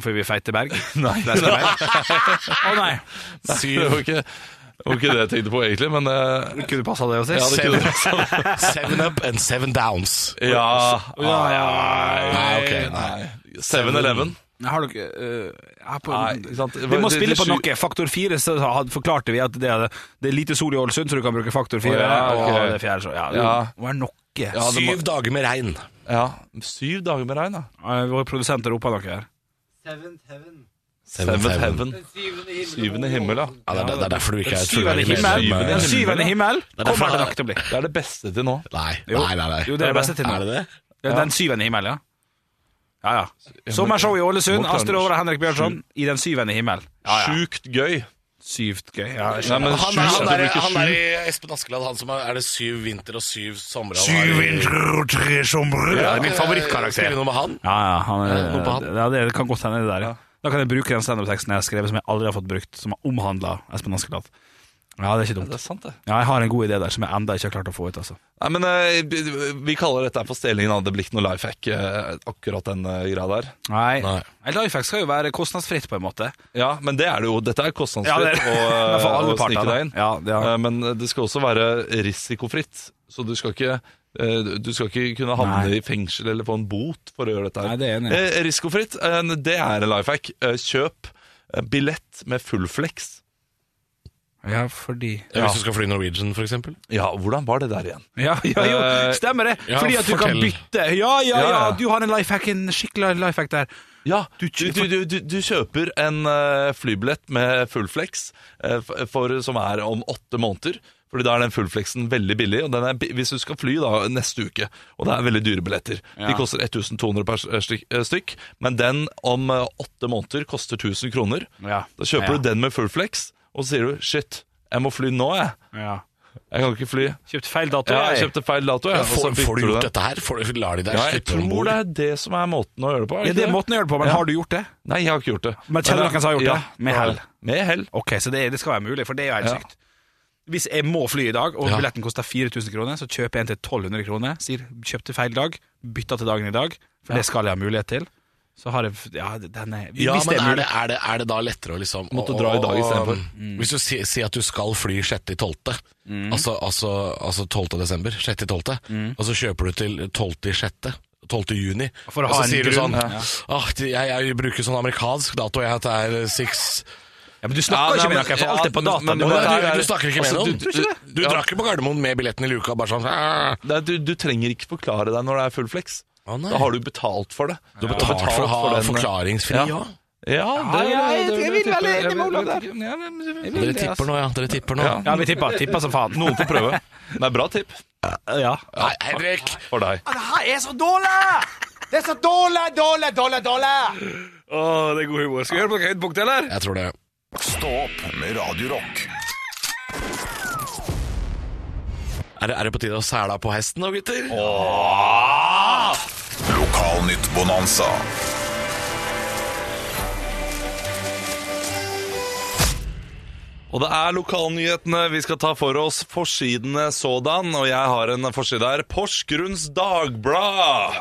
Speaker 4: For vi er feite berg?
Speaker 5: *laughs* Nei,
Speaker 4: Der skal jeg. Å nei.
Speaker 5: det var ikke, det var ikke det jeg tenkte på egentlig, men eh,
Speaker 4: Kunne passa det å si.
Speaker 5: ja, det kunne det.
Speaker 3: Seven up and seven downs.
Speaker 5: *laughs* Ja,
Speaker 4: Ja, ja.
Speaker 3: Nei, ok, nei.
Speaker 5: 7-Eleven.
Speaker 4: Har du ikke eh, jeg har på-
Speaker 5: Nei, ikke sant.
Speaker 4: Vi må
Speaker 5: Det-
Speaker 4: spille
Speaker 5: det-
Speaker 4: på
Speaker 5: sju-
Speaker 4: noe. Faktor 4 så had- forklarte vi at det er, det er lite sol i Ålesund, så du kan bruke faktor 4.
Speaker 5: Å, ja,
Speaker 4: og
Speaker 5: ok.
Speaker 4: det fjerde, så, ja,
Speaker 5: Ja.
Speaker 4: Det var noe.
Speaker 5: Ja, det må-
Speaker 3: Syv dager med regn.
Speaker 5: Ja, syv dager med regn, da.
Speaker 4: Eh, Vår produsent roper noe her.
Speaker 5: Seventh Heaven. Syvende himmel, ja.
Speaker 3: Ja, det, er, det er derfor du ikke er et
Speaker 4: Syvende
Speaker 3: fullverdig medlem.
Speaker 4: himmel! Ja, Syvende
Speaker 5: Syvende himmel.
Speaker 4: himmel
Speaker 3: er derfor
Speaker 4: kommer det
Speaker 3: han-
Speaker 4: nok til å bli.
Speaker 5: Det er det beste til nå.
Speaker 3: Nei,
Speaker 4: Jo.
Speaker 3: nei, nei. nei.
Speaker 4: Jo, det er det beste til nå.
Speaker 3: Er det det?
Speaker 4: Ja, Den syvende himmel, ja. Ja, ja. Sommershow i Ålesund.
Speaker 5: Må klare-
Speaker 4: Astrid Aare, Henrik Bjørnson i Den syvende himmel. Ja, ja.
Speaker 5: Sjukt gøy.
Speaker 4: Syvt gøy. Ja, jeg skjønner.
Speaker 5: Nei, men
Speaker 3: Han,
Speaker 5: sju,
Speaker 3: er-
Speaker 5: så
Speaker 3: han,
Speaker 5: det
Speaker 3: er,
Speaker 5: blir ikke
Speaker 3: han er
Speaker 5: sju.
Speaker 3: i Espen Askeland, han som er, er det syv vinter og syv somre.
Speaker 4: og tre somre. Ja, det er min
Speaker 3: Skal vi
Speaker 4: favorittkarakter.
Speaker 3: noe med han?
Speaker 4: Ja, ja, han
Speaker 3: Er det noe på han?
Speaker 4: er, ja, det kan godt hende det der, ja. Da kan jeg bruke den standup-teksten jeg har skrevet som jeg aldri har fått brukt, som har omhandla Espen Askeladd. Ja, det er ikke
Speaker 5: Det
Speaker 4: dumt.
Speaker 5: er sant, det.
Speaker 4: Ja, jeg har en god idé der som jeg enda ikke har klart å få ut, altså.
Speaker 5: Nei, men eh, vi- Vi kaller dette her for stelingen. da. Det blir ikke noe life hack, eh, akkurat den eh, greia der.
Speaker 4: Nei.
Speaker 3: Nei.
Speaker 4: Lifehack skal jo være kostnadsfritt, på en måte.
Speaker 5: Ja, men det er det jo. Dette er
Speaker 4: *laughs* Ja, det-
Speaker 5: kostnadsfritt *laughs* eh,
Speaker 4: Men for
Speaker 5: å,
Speaker 4: alle
Speaker 5: å snike
Speaker 4: partene.
Speaker 5: deg inn.
Speaker 4: Ja, det er-
Speaker 5: Eh, Men det skal også være risikofritt. Så du skal ikke eh, Du skal ikke kunne havne
Speaker 4: Nei.
Speaker 5: i fengsel eller få en bot for å gjøre dette. her.
Speaker 4: Nei, det er enig.
Speaker 5: Eh, risikofritt, eh, det er en life hack. Eh, kjøp eh, billett med full flex.
Speaker 4: Ja, fordi
Speaker 3: Hvis du skal fly Norwegian, for eksempel.
Speaker 5: Ja, hvordan var det der igjen?
Speaker 4: Ja, ja jo,
Speaker 5: Eh,
Speaker 4: stemmer det!
Speaker 3: ja,
Speaker 4: fordi at du kan
Speaker 3: fortell.
Speaker 4: bytte. Ja, ja, ja,
Speaker 5: Ja, ja.
Speaker 4: du har en life hack, en skikkelig life hack der.
Speaker 5: Ja,
Speaker 4: Du
Speaker 5: du,
Speaker 4: kjøper-
Speaker 5: du, du, du, kjøper en eh, flybillett med fullflex eh, f- for, som er om åtte måneder. Fordi da er den fullflexen veldig billig. Og den er, bi- hvis du skal fly da neste uke, og det er veldig dyre billetter De koster 1200 per s- eh, stykk, eh, stykk, men den om eh, åtte måneder koster 1000 kroner.
Speaker 4: Ja.
Speaker 5: Da kjøper
Speaker 4: Ja.
Speaker 5: du den med fullflex, og så sier du 'shit, jeg må fly nå, jeg'.
Speaker 4: Ja.
Speaker 5: Jeg kan ikke fly.
Speaker 4: Kjøpt feil dato.
Speaker 5: Ja,
Speaker 4: jeg.
Speaker 5: jeg kjøpte feil dato. Jeg, og så
Speaker 3: Får, får
Speaker 5: bytter
Speaker 3: du gjort
Speaker 5: den.
Speaker 3: dette her? Får du, lar de deg
Speaker 5: Ja, jeg
Speaker 3: slippe om
Speaker 5: tror
Speaker 3: bord?
Speaker 5: det er det som er måten å gjøre det på. er
Speaker 4: Ja,
Speaker 5: ikke
Speaker 4: det er måten å gjøre det på, men har du gjort det?
Speaker 5: Nei, jeg har ikke gjort det.
Speaker 4: Men kjenner noen som har gjort
Speaker 5: ja,
Speaker 4: det? Med hell.
Speaker 5: Med hell.
Speaker 4: Ok, så det, det skal være mulig, for det er jo helt
Speaker 5: Ja.
Speaker 4: sykt. Hvis jeg må fly i dag, og
Speaker 3: Ja.
Speaker 4: billetten koster 4000 kroner, så kjøper jeg en til 1200 kroner, sier kjøpte feil dag, bytta til dagen i dag, for det skal jeg ha mulighet til. Så har jeg Ja, den er
Speaker 3: Ja,
Speaker 4: Hvis
Speaker 3: men
Speaker 4: det er
Speaker 3: er det,
Speaker 4: mulig.
Speaker 3: er, det, er det da lettere å liksom
Speaker 5: Måtte
Speaker 3: å-
Speaker 5: dra i
Speaker 3: å-
Speaker 5: dag
Speaker 3: å-
Speaker 5: istedenfor.
Speaker 3: Hvis du sier si at du skal fly 6.12., altså, altså, altså 12. desember, 6.12., og så kjøper du til 12.6., 12. juni,
Speaker 4: For å
Speaker 3: og
Speaker 4: ha
Speaker 3: så
Speaker 4: en
Speaker 3: sier du
Speaker 4: grunn,
Speaker 3: sånn
Speaker 4: ja.
Speaker 3: «Ah, jeg, jeg bruker sånn amerikansk dato, jeg at det er 6
Speaker 4: Ja, men du snakker
Speaker 5: Ja,
Speaker 4: ikke
Speaker 5: nei,
Speaker 4: med noen,
Speaker 5: men-
Speaker 4: for
Speaker 5: ja,
Speaker 4: alt er på
Speaker 5: men-
Speaker 4: data.
Speaker 5: men-
Speaker 4: Du
Speaker 3: du,
Speaker 5: men-
Speaker 4: bare-
Speaker 3: du, du snakker ikke med
Speaker 5: Altså,
Speaker 3: noen.
Speaker 5: du-
Speaker 3: Du,
Speaker 5: du-
Speaker 3: du,
Speaker 5: ja.
Speaker 3: drar ikke på Gardermoen med billetten i luka, bare sånn «Ah».
Speaker 5: Det er, du, du trenger ikke forklare deg når det er full flex.
Speaker 3: Å, nei.
Speaker 5: da har du betalt for det.
Speaker 3: Du har betalt for å ha
Speaker 5: den-
Speaker 3: forklaringsfri,
Speaker 5: Ja.
Speaker 3: ja.
Speaker 5: Ja,
Speaker 4: Ja, ja,
Speaker 5: det,
Speaker 4: jeg- jeg vil
Speaker 5: tipper-
Speaker 4: veldig- det må
Speaker 5: jeg-
Speaker 4: være
Speaker 5: jeg- ja, men-
Speaker 3: Dere
Speaker 4: altså.
Speaker 3: tipper nå, ja. Dere tipper nå.
Speaker 5: Ja.
Speaker 4: Ja, vi tipper. Tipper som faen.
Speaker 5: Noen får prøve. Det er bra tipp
Speaker 4: Ja.
Speaker 3: Nei, Henrik!
Speaker 5: for deg.
Speaker 6: Det her er så dårlig! Det er så dårlig, dårlig, dårlig, dårlig!
Speaker 4: Å, det er god humor. Skal vi høre på noen høydepunkt, eller?
Speaker 3: Jeg tror det.
Speaker 1: Stå opp med Radio Rock.
Speaker 3: Er det, er det på tide å sæla på hesten nå, gutter?
Speaker 1: Lokalnytt Bonanza.
Speaker 5: Og det er lokalnyhetene vi skal ta for oss. Forsidene sådan, og jeg har en forside her. Porsgrunns Dagblad!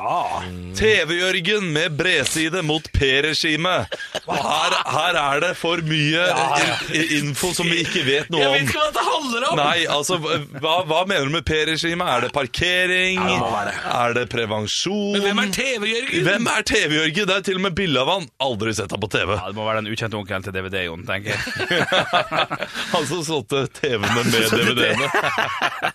Speaker 5: TV-Jørgen med bredside mot P-regimet. Her, her er det for mye i- i- info som vi ikke vet noe om.
Speaker 3: hva dette handler
Speaker 5: Nei, altså, hva, hva mener du med P-regimet? Er det parkering? Er det prevensjon?
Speaker 3: TV-Jørgen?
Speaker 5: Hvem er TV-Jørgen? Det er til og med bilde av han. Aldri sett ham på TV.
Speaker 4: Ja, det må være den ukjente onkelen til DVD-en, tenker jeg.
Speaker 5: *laughs* Han som *laughs* solgte TV-ene med DVD-ene.
Speaker 4: *laughs*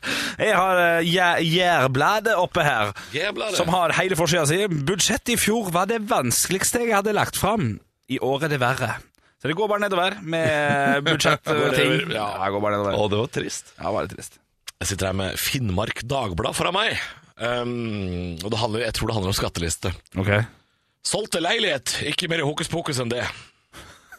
Speaker 4: Jeg har eh, Jær- Jærbladet oppe her,
Speaker 3: Jærbladet.
Speaker 4: som har hele forsida si. Budsjettet i fjor var det vanskeligste jeg hadde lagt fram. I år er det verre. Så det går bare nedover *laughs* med budsjettting.
Speaker 3: nedover, ja.
Speaker 4: det går bare nedover.
Speaker 5: Å, det var trist.
Speaker 4: Ja, bare trist.
Speaker 3: Jeg sitter her med Finnmark Dagblad foran meg. Um, og det handler, jeg tror det handler om skatteliste.
Speaker 4: Ok.
Speaker 3: Solgte leilighet, ikke mer hokus pokus enn det.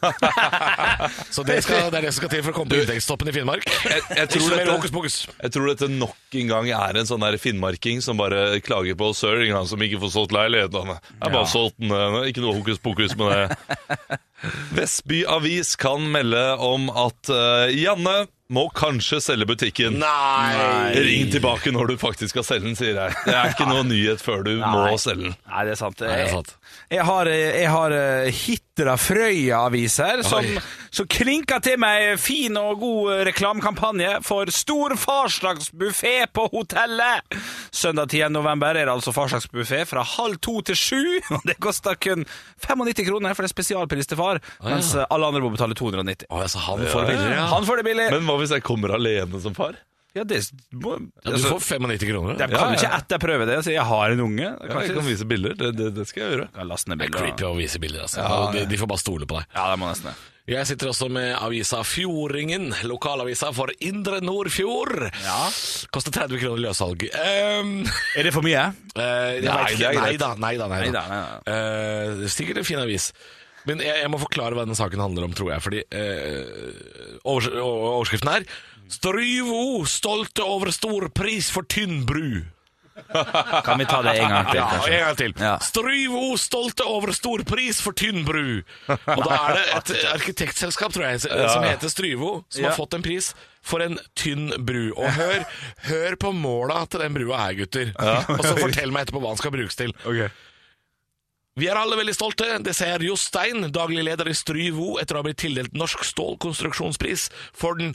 Speaker 3: *laughs* Så det, skal, det er det som skal til for å komme på inntektstoppen i Finnmark.
Speaker 5: Jeg, jeg, tror
Speaker 3: Ikke mer
Speaker 5: dette,
Speaker 3: hokus pokus.
Speaker 5: jeg tror dette nok en gang er en sånn der finnmarking som bare klager på søren, han som ikke får solgt leiligheten. Han er bare solgt den, eh, ikke noe hokus pokus med det. *laughs* Vestby Avis kan melde om at eh, Janne må kanskje selge butikken.
Speaker 3: Nei!
Speaker 5: Ring tilbake når du faktisk skal selge den, sier jeg. Det er ikke *laughs* noe nyhet før du
Speaker 4: Nei.
Speaker 5: må selge den.
Speaker 4: Nei, det er sant.
Speaker 3: det er sant.
Speaker 4: Jeg har, jeg har eh, Hitra Frøya-avis her, som,
Speaker 3: Oi.
Speaker 4: som klinker til meg fin og god eh, reklamekampanje for stor farsdagsbuffé på hotellet. Søndag 10. november er det altså farsdagsbuffé fra halv to til sju. *laughs* Og det koster kun 95 kroner, for det er spesialpris til far, mens eh, alle andre må betale 290.
Speaker 3: Å, altså, han får billigere. Ja.
Speaker 4: Han får det billig.
Speaker 5: Men hva hvis jeg kommer alene som far?
Speaker 4: ja, det må,
Speaker 3: Ja, du
Speaker 4: altså,
Speaker 3: får 95 kroner.
Speaker 4: de
Speaker 3: Det
Speaker 4: kan
Speaker 5: ja,
Speaker 4: jo ikke etterprøve det. Så jeg har en unge.
Speaker 5: Ja, jeg kan vise bilder. Det, det, det skal jeg gjøre.
Speaker 4: kan laste ned
Speaker 3: er
Speaker 4: bilder.
Speaker 3: creepy å vise bilder, altså. De, de får bare stole på deg.
Speaker 4: Ja, det må nesten det.
Speaker 3: Jeg sitter også med avisa Fjordingen, lokalavisa for Indre Nordfjord.
Speaker 4: Ja.
Speaker 3: Koster 30 kroner i løssalg. Ehm,
Speaker 4: Er det for mye?
Speaker 3: eh, jeg
Speaker 5: Nei,
Speaker 3: vet ikke.
Speaker 5: det er greit.
Speaker 3: nei da, nei da. Nei
Speaker 4: Nei
Speaker 3: da.
Speaker 4: da, nei da.
Speaker 3: Eh, sikkert en fin avis. Men jeg, jeg må forklare hva denne saken handler om, tror jeg. Fordi eh, overs o- overskriften er 'Stryvo stolte over stor pris for tynn bru'.
Speaker 4: Kan vi ta det en gang til?
Speaker 3: Ja, og
Speaker 4: kanskje?
Speaker 3: en gang til.
Speaker 4: Ja.
Speaker 3: Stryvo stolte over stor pris for tynn bru. Og da er det et arkitektselskap, tror jeg, som heter Stryvo, som
Speaker 4: Ja.
Speaker 3: har fått en pris for en tynn bru.
Speaker 4: *laughs*
Speaker 3: Og hør, hør på måla til den brua her, gutter. Og så fortell meg etterpå hva den skal brukes til. Vi er alle veldig stolte. Det sier Jostein, daglig leder i Stryvo, etter å ha blitt tildelt Norsk stålkonstruksjonspris for den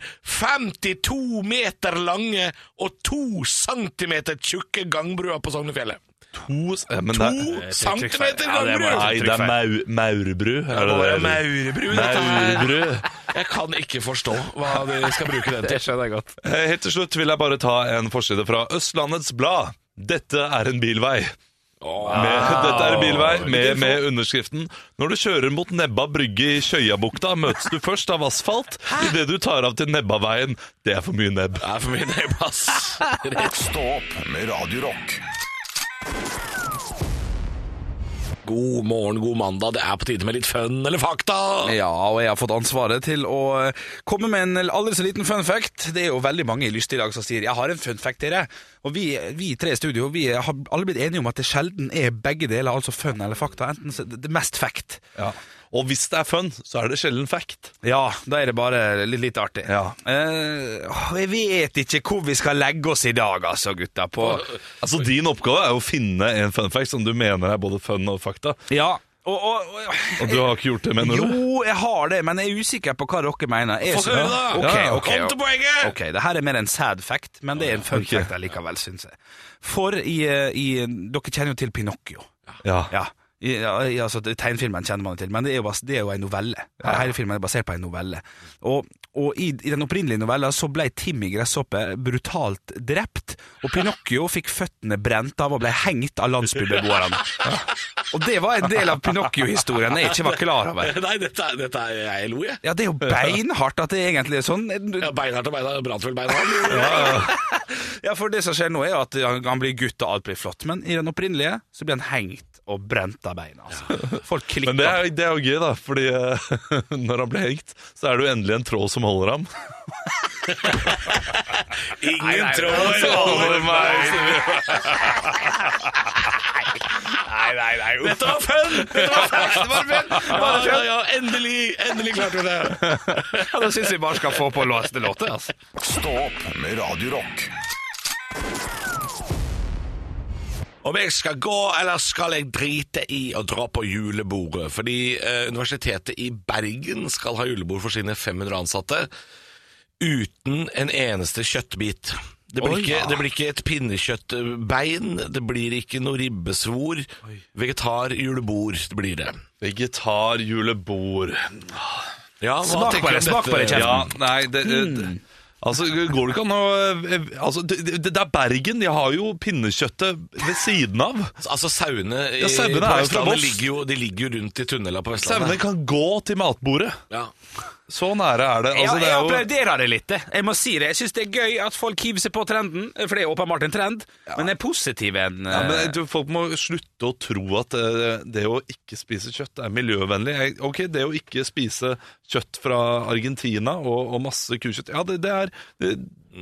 Speaker 3: 52 meter lange og 2 centimeter tjukke gangbrua på Sognefjellet.
Speaker 5: To s- eh, men det
Speaker 3: 2
Speaker 5: er-
Speaker 3: centimeter
Speaker 4: Ja, det er
Speaker 3: gangbru!
Speaker 4: bare-
Speaker 5: Nei, det er Mau, Maurbru. Er det
Speaker 3: Å, ja,
Speaker 5: det?
Speaker 3: Maurebru, dette her.
Speaker 5: Maurbru.
Speaker 3: Jeg kan ikke forstå hva de skal bruke den til.
Speaker 4: skjønner jeg godt.
Speaker 5: Eh, Helt til slutt vil jeg bare ta en forside fra Østlandets Blad. Dette er en bilvei. Med,
Speaker 4: Ah.
Speaker 5: dette er en bilvei med, med underskriften Når du kjører mot Nebba brygge i Kjøyabukta, møtes du først av asfalt idet du tar av til Nebbaveien. Det er for mye nebb.
Speaker 3: Det er for mye nebb, ass.
Speaker 1: Stå opp med Radio Rock.
Speaker 3: God morgen, god mandag. Det er på tide med litt fun eller fakta.
Speaker 4: Ja, og jeg har fått ansvaret til å eh, komme med en aldri så liten fun fact. Det er jo veldig mange i lyst i dag som sier 'jeg har en fun fact til dere'. Og vi, vi tre i studio vi har alle blitt enige om at det sjelden er begge deler, altså fun eller fakta. Enten så, det er mest fact.
Speaker 5: Og hvis det er fun, så er det sjelden fact.
Speaker 4: Ja, da er det bare litt, litt artig. Eh, åh, jeg vet ikke hvor vi skal legge oss i dag, altså, gutta. På,
Speaker 5: Altså Din oppgave er å finne en fun fact som du mener er både fun og fakta.
Speaker 4: ja, og, og, og
Speaker 5: Og du har ikke gjort det, mener du?
Speaker 4: Jo, jeg har det, men jeg er usikker på hva dere mener. Jeg
Speaker 3: Få høre, da.
Speaker 4: Ok,
Speaker 5: Ja,
Speaker 4: ok,
Speaker 3: kom til poenget.
Speaker 4: Ok, det her er mer en sad fact, men det er en fun fact allikevel, syns jeg. For i, eh, i Dere kjenner jo til Pinocchio.
Speaker 5: Ja.
Speaker 4: Ja. I, ja, i, altså, det- tegnfilmen kjenner man jo til, men det er jo, bas- det er jo en novelle. Hele filmen er basert på en novelle. Og, og i, i den opprinnelige novella så ble Timmy Gresshoppe brutalt drept, og Pinocchio fikk føttene brent av og ble hengt av
Speaker 3: *laughs*
Speaker 4: landsbybeboerne. Og det var en del av Pinocchio-historien jeg ikke var klar
Speaker 3: *laughs*
Speaker 4: over.
Speaker 3: Nei, dette, er- dette er jeg lo, jeg.
Speaker 4: *laughs* Ja, det er jo beinhardt at det egentlig er sånn.
Speaker 3: Ja, Beinhardt og beinhardt. Brantvel
Speaker 4: *laughs*
Speaker 3: beinhardt.
Speaker 4: Ja, for det som skjer nå er jo at han han blir gutt og alt blir flott, men i den opprinnelige så blir han hengt og brent av beina. Altså. *laughs* Folk klikker.
Speaker 5: Men det er, det er jo gøy, da. Fordi eh, *laughs* når han blir hengt, så er det jo endelig en tråd som holder ham.
Speaker 3: Ingen tråd
Speaker 5: holder meg.
Speaker 4: Nei, nei, nei. uff.
Speaker 3: *laughs* Dette var fun! Dette var fun!
Speaker 4: *laughs*
Speaker 3: Ja, ja, ja, endelig, endelig klarte vi det.
Speaker 4: Ja, da syns jeg bare skal få på låste låter. Altså.
Speaker 1: Stå opp med Radio Rock.
Speaker 3: Om jeg skal gå, eller skal jeg drite i å dra på julebordet? Fordi eh, Universitetet i Bergen skal ha julebord for sine 500 ansatte uten en eneste kjøttbit. Det blir,
Speaker 4: Oi.
Speaker 3: ikke, det blir ikke et pinnekjøttbein, det blir ikke noe ribbesvor. Vegetar-julebord det blir det.
Speaker 5: Vegetarjulebord.
Speaker 3: Ja, hva
Speaker 4: Smak
Speaker 3: tenker du
Speaker 4: på
Speaker 3: om
Speaker 4: det, smak
Speaker 3: dette?
Speaker 4: på det, Mm. kjære.
Speaker 5: Ja, nei det, det- Altså, går det ikke an å eh, altså, det, det, det er Bergen. De har jo pinnekjøttet ved siden av.
Speaker 4: Sånn
Speaker 3: Altså Sauene i-
Speaker 5: Ja,
Speaker 3: på
Speaker 5: sauene er jo fra
Speaker 3: Vestlandet
Speaker 5: Voss.
Speaker 3: ligger jo, de ligger jo rundt i tunnela på
Speaker 5: Sauene
Speaker 3: Vestlandet.
Speaker 5: kan gå til matbordet.
Speaker 3: Ja.
Speaker 5: Så nære er det. Altså,
Speaker 4: *laughs* ja,
Speaker 5: det
Speaker 4: jeg
Speaker 5: er jo,
Speaker 4: applauderer det litt. det. Jeg må si det. Jeg syns det er gøy at folk hiver seg på trenden, eh, for det er åpenbart en trend, men det er positiv en eh,
Speaker 5: ja, men du, Folk må slutte å tro at eh, det å ikke spise kjøtt er miljøvennlig. Jeg- Ok, Det å ikke spise kjøtt fra Argentina og, og masse kukjøtt Ja, det, det, er, det,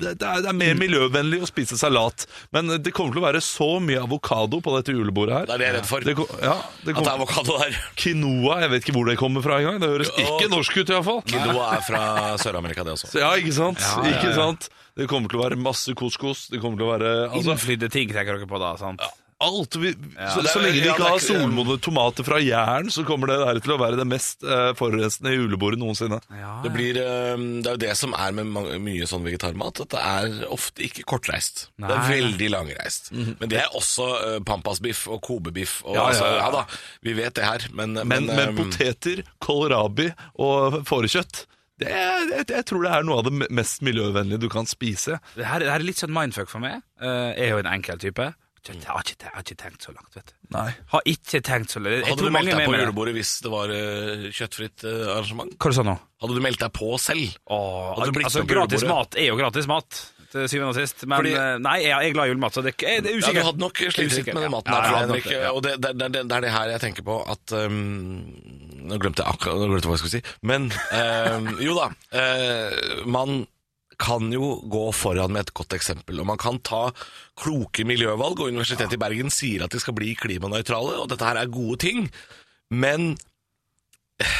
Speaker 5: det, er, det er mer miljøvennlig å spise salat. Men det kommer til å være så mye avokado på dette julebordet her.
Speaker 3: Det er det jeg er redd for.
Speaker 5: Det ko- ja, det
Speaker 3: At det
Speaker 5: kommer-
Speaker 3: er avokado der.
Speaker 5: Quinoa, jeg vet ikke hvor det kommer fra engang. Det høres ikke norsk ut iallfall.
Speaker 3: Quinoa er fra Sør-Amerika, det også.
Speaker 5: Ja, ikke sant? Ikke sant? Det kommer til å være masse couscous. Det kommer til å være altså,
Speaker 4: Innflydde ting tenker dere på da, sant?
Speaker 5: alt. Vi, så,
Speaker 3: Det er-
Speaker 5: så lenge de
Speaker 3: ja, det
Speaker 5: ikke
Speaker 3: er
Speaker 5: har
Speaker 3: ikke-
Speaker 5: solmodne tomater fra Jæren, så kommer det der til å være det mest eh, forurensende julebordet noensinne.
Speaker 4: Ah,
Speaker 3: Det, blir, øhm, det er jo det som er med mange, mye sånn vegetarmat, at det er ofte ikke kortreist. Det er
Speaker 4: Nei.
Speaker 3: veldig langreist. Men det er også øh, pampasbiff og kobebiff. Og, ja,
Speaker 5: ja,
Speaker 3: Altså,
Speaker 5: ja.
Speaker 3: ja da, vi vet det her, men, ehm,
Speaker 5: Men, men
Speaker 4: eh,
Speaker 3: øhm,
Speaker 5: poteter, kålrabi og fårekjøtt det er, jeg, jeg tror det er noe av det mest miljøvennlige du kan spise.
Speaker 4: Det her, det her er litt sånn mindfuck for meg. Eh, jeg er jo en enkel type. Jeg har ikke, jeg har ikke tenkt så langt, vet du.
Speaker 5: Nei.
Speaker 4: Har ikke tenkt så langt. Jeg
Speaker 3: Hadde
Speaker 4: tror
Speaker 3: du meldt
Speaker 4: mange
Speaker 3: deg
Speaker 4: er
Speaker 3: på
Speaker 4: med meg.
Speaker 3: julebordet hvis det var øh, kjøttfritt øh, arrangement?
Speaker 4: Hva du sa du nå?
Speaker 3: Hadde du meldt deg på selv? Hadde du blitt
Speaker 4: altså,
Speaker 3: med på
Speaker 4: gratis
Speaker 3: julebordet?
Speaker 4: mat er jo gratis mat, til syvende og sist. Men
Speaker 3: Fordi-
Speaker 4: eh, nei, jeg jeg er glad i julemat, så det jeg- det er
Speaker 3: Ja,
Speaker 4: usikkert.
Speaker 3: du hadde nok slitt litt
Speaker 4: Usikker,
Speaker 3: med den
Speaker 4: ja.
Speaker 3: maten
Speaker 4: Ja,
Speaker 3: der,
Speaker 4: jeg
Speaker 3: tror jeg,
Speaker 4: hadde
Speaker 3: Henrik.
Speaker 4: nok det, ja.
Speaker 3: Og det, det, det, det er det her jeg tenker på at øhm, Nå glemte jeg akkurat nå glemte jeg hva jeg skulle si. Men øhm, jo da. øh, man kan jo gå foran med et godt eksempel. Og man kan ta kloke miljøvalg, og Universitetet i Bergen sier at de skal bli klimanøytrale, og dette her er gode ting. Men eh,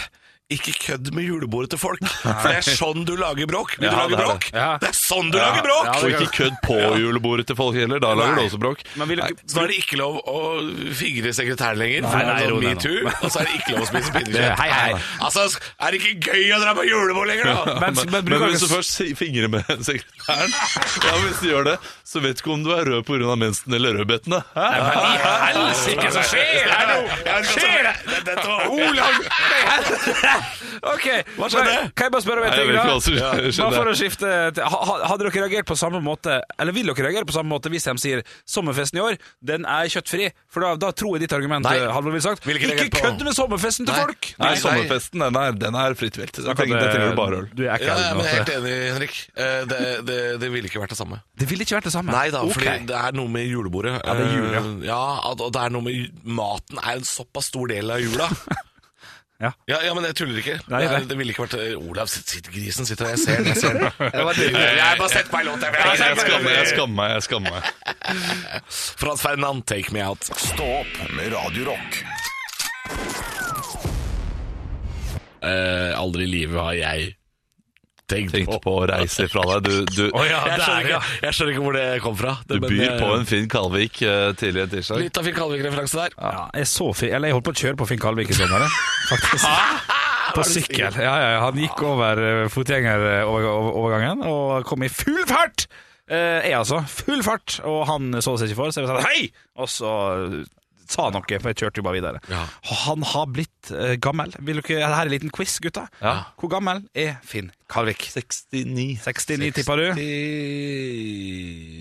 Speaker 3: Ikke kødd med julebordet til folk, for det er sånn du lager bråk. Vil du
Speaker 5: Ja,
Speaker 3: lage
Speaker 5: det er
Speaker 3: bråk?
Speaker 5: det.
Speaker 4: Ja.
Speaker 3: Det er sånn du
Speaker 5: Ja.
Speaker 3: lager bråk!
Speaker 4: *laughs* Ja,
Speaker 5: Og
Speaker 4: det-
Speaker 5: ikke kødd på julebordet til folk heller. Da lager
Speaker 3: Nei.
Speaker 5: du også bråk.
Speaker 4: Man vil jo ikke
Speaker 3: Så da er det ikke lov å fingre sekretæren lenger, for
Speaker 4: Nei,
Speaker 3: det er
Speaker 4: nei,
Speaker 3: sånn
Speaker 4: ro deg
Speaker 3: metoo. Og så er det ikke lov å
Speaker 4: *laughs*
Speaker 3: spise
Speaker 4: Det-
Speaker 3: pinnekjøtt.
Speaker 4: hei, hei.
Speaker 3: Nei. Altså, er det ikke gøy å dra på julebord lenger, da?
Speaker 4: *laughs* Men-
Speaker 5: Men,
Speaker 4: men
Speaker 5: men,
Speaker 4: bruker ikke
Speaker 5: hvis du
Speaker 4: s-
Speaker 5: først si- fingrer med *laughs* sekretæren, ja, hvis du gjør det, så vet du ikke om du er rød pga. mensen eller rødbetene. Hæ?
Speaker 4: I
Speaker 5: *laughs*
Speaker 4: helsike, så skjer det her nå!
Speaker 3: Ja, men altså,
Speaker 4: Skjer det?
Speaker 3: det- Dette var
Speaker 4: Olav! Ok, hva
Speaker 3: skjedde?
Speaker 4: Kan jeg bare spørre om en
Speaker 5: Nei, jeg
Speaker 4: ting,
Speaker 5: vet
Speaker 4: da?
Speaker 5: ikke hva
Speaker 3: *laughs*
Speaker 5: som
Speaker 4: Ja.
Speaker 5: skjedde.
Speaker 4: Bare for å skifte til, ha, ha- Hadde dere reagert på samme måte Eller vil dere reagere på samme måte hvis de sier sommerfesten i år, den er kjøttfri? For da, da tror jeg ditt argument, eh,
Speaker 3: Nei.
Speaker 4: Halvor, vil sagt.
Speaker 3: Vil ikke
Speaker 4: Ikke
Speaker 3: reagere på.
Speaker 4: kødd med sommerfesten til
Speaker 3: Nei.
Speaker 4: folk!
Speaker 5: Nei,
Speaker 3: Nei,
Speaker 5: sommerfesten den er, den er fritt vilt. Da
Speaker 4: Akkurat
Speaker 5: trenger
Speaker 4: det-
Speaker 5: da trenger du bare øl.
Speaker 4: Du er
Speaker 3: Ja,
Speaker 4: ikke
Speaker 3: ja,
Speaker 4: ærlig
Speaker 3: men
Speaker 4: nok
Speaker 3: jeg er
Speaker 4: til
Speaker 3: helt
Speaker 4: det.
Speaker 3: enig, Henrik. Eh, Det, det, det ville ikke vært det samme.
Speaker 4: Det ville ikke vært det samme.
Speaker 3: Nei da,
Speaker 4: Ok.
Speaker 3: fordi det er noe med julebordet. Eh, Ja,
Speaker 4: det er jul, ja.
Speaker 3: at- og det er noe med ju- Maten er en såpass stor del av jula.
Speaker 4: Ja.
Speaker 3: Ja, men jeg tuller ikke.
Speaker 4: Nei,
Speaker 3: det, er,
Speaker 4: nei.
Speaker 3: det ville ikke vært eh, Olav sitt, sitt grisen sitter der. Jeg ser den, jeg ser den.
Speaker 4: det-
Speaker 3: Jeg har bare sett meg i låt. jeg vet
Speaker 5: Jeg
Speaker 3: ikke.
Speaker 5: skammer meg, jeg skammer meg. jeg skammer meg
Speaker 3: Frans Ferdinand, take me out.
Speaker 1: Stå opp med Radio Rock.
Speaker 3: Eh, aldri i livet har jeg tenkt
Speaker 5: Tenkte på å reise fra deg. Du, du,
Speaker 3: Å ja, jeg,
Speaker 4: der,
Speaker 3: skjønner
Speaker 4: ja.
Speaker 3: ikke, jeg skjønner ikke hvor det kom fra.
Speaker 5: du byr på en Finn Kalvik eh, tidlig en tirsdag.
Speaker 3: Litt av Finn Kalvik-referanse der.
Speaker 4: Ja, jeg så fi, Eller jeg holdt på å kjøre på Finn Kalvik i sommer, jeg, faktisk. På sykkel. Ja, ja, ja. han gikk over eh, fotgjengerovergangen og kom i full fart! Eh, jeg, altså. Full fart! Og han så seg ikke for, så jeg sa hei! Og så eh, sa han noe, for jeg kjørte jo bare videre.
Speaker 3: Ja.
Speaker 4: Og Han har blitt eh, gammel. Vil dere, ja, det her er en liten quiz, gutta.
Speaker 5: Ja.
Speaker 4: Hvor gammel er Finn Kalvik?
Speaker 5: 69.
Speaker 4: 69, tippa du?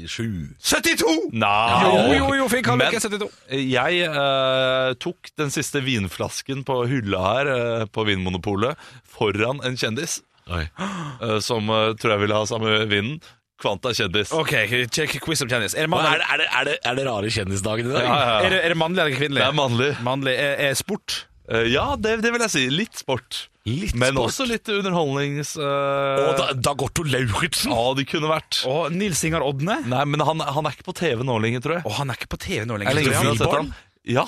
Speaker 3: 67
Speaker 4: 72!
Speaker 5: Nei.
Speaker 4: Jo, jo, jo, Finn Kalvik
Speaker 5: Men-
Speaker 4: er 72.
Speaker 5: Jeg eh, tok den siste vinflasken på hylla her eh, på Vinmonopolet foran en kjendis
Speaker 3: Oi.
Speaker 5: eh, som eh, tror jeg ville ha samme vinen. Kvanta kjendis.
Speaker 4: OK, check quiz om kjendis. Er det
Speaker 3: Og
Speaker 4: mannlig,
Speaker 3: Sånn er, det, er, det, er, det, er det rare kjendisdagen i dag?
Speaker 5: Ja, ja, ja.
Speaker 4: er det, er det mannlig eller kvinnelig?
Speaker 5: Det er mannlig.
Speaker 4: Mannlig er, er sport.
Speaker 5: Eh, ja, det, det vil jeg si. Litt sport.
Speaker 3: Litt
Speaker 5: Men
Speaker 3: sport.
Speaker 5: også litt underholdnings... eh,
Speaker 3: Og da, Dagotto Lauritzen!
Speaker 5: Ja, det kunne vært.
Speaker 4: Og Nils Ingar Odne.
Speaker 5: Nei, men han, han er ikke på TV nå lenger, tror jeg.
Speaker 4: Og han er ikke på TV nå
Speaker 5: Er
Speaker 4: lenger.
Speaker 5: det lenge siden jeg har sett
Speaker 4: Friborg.
Speaker 5: han? Ja,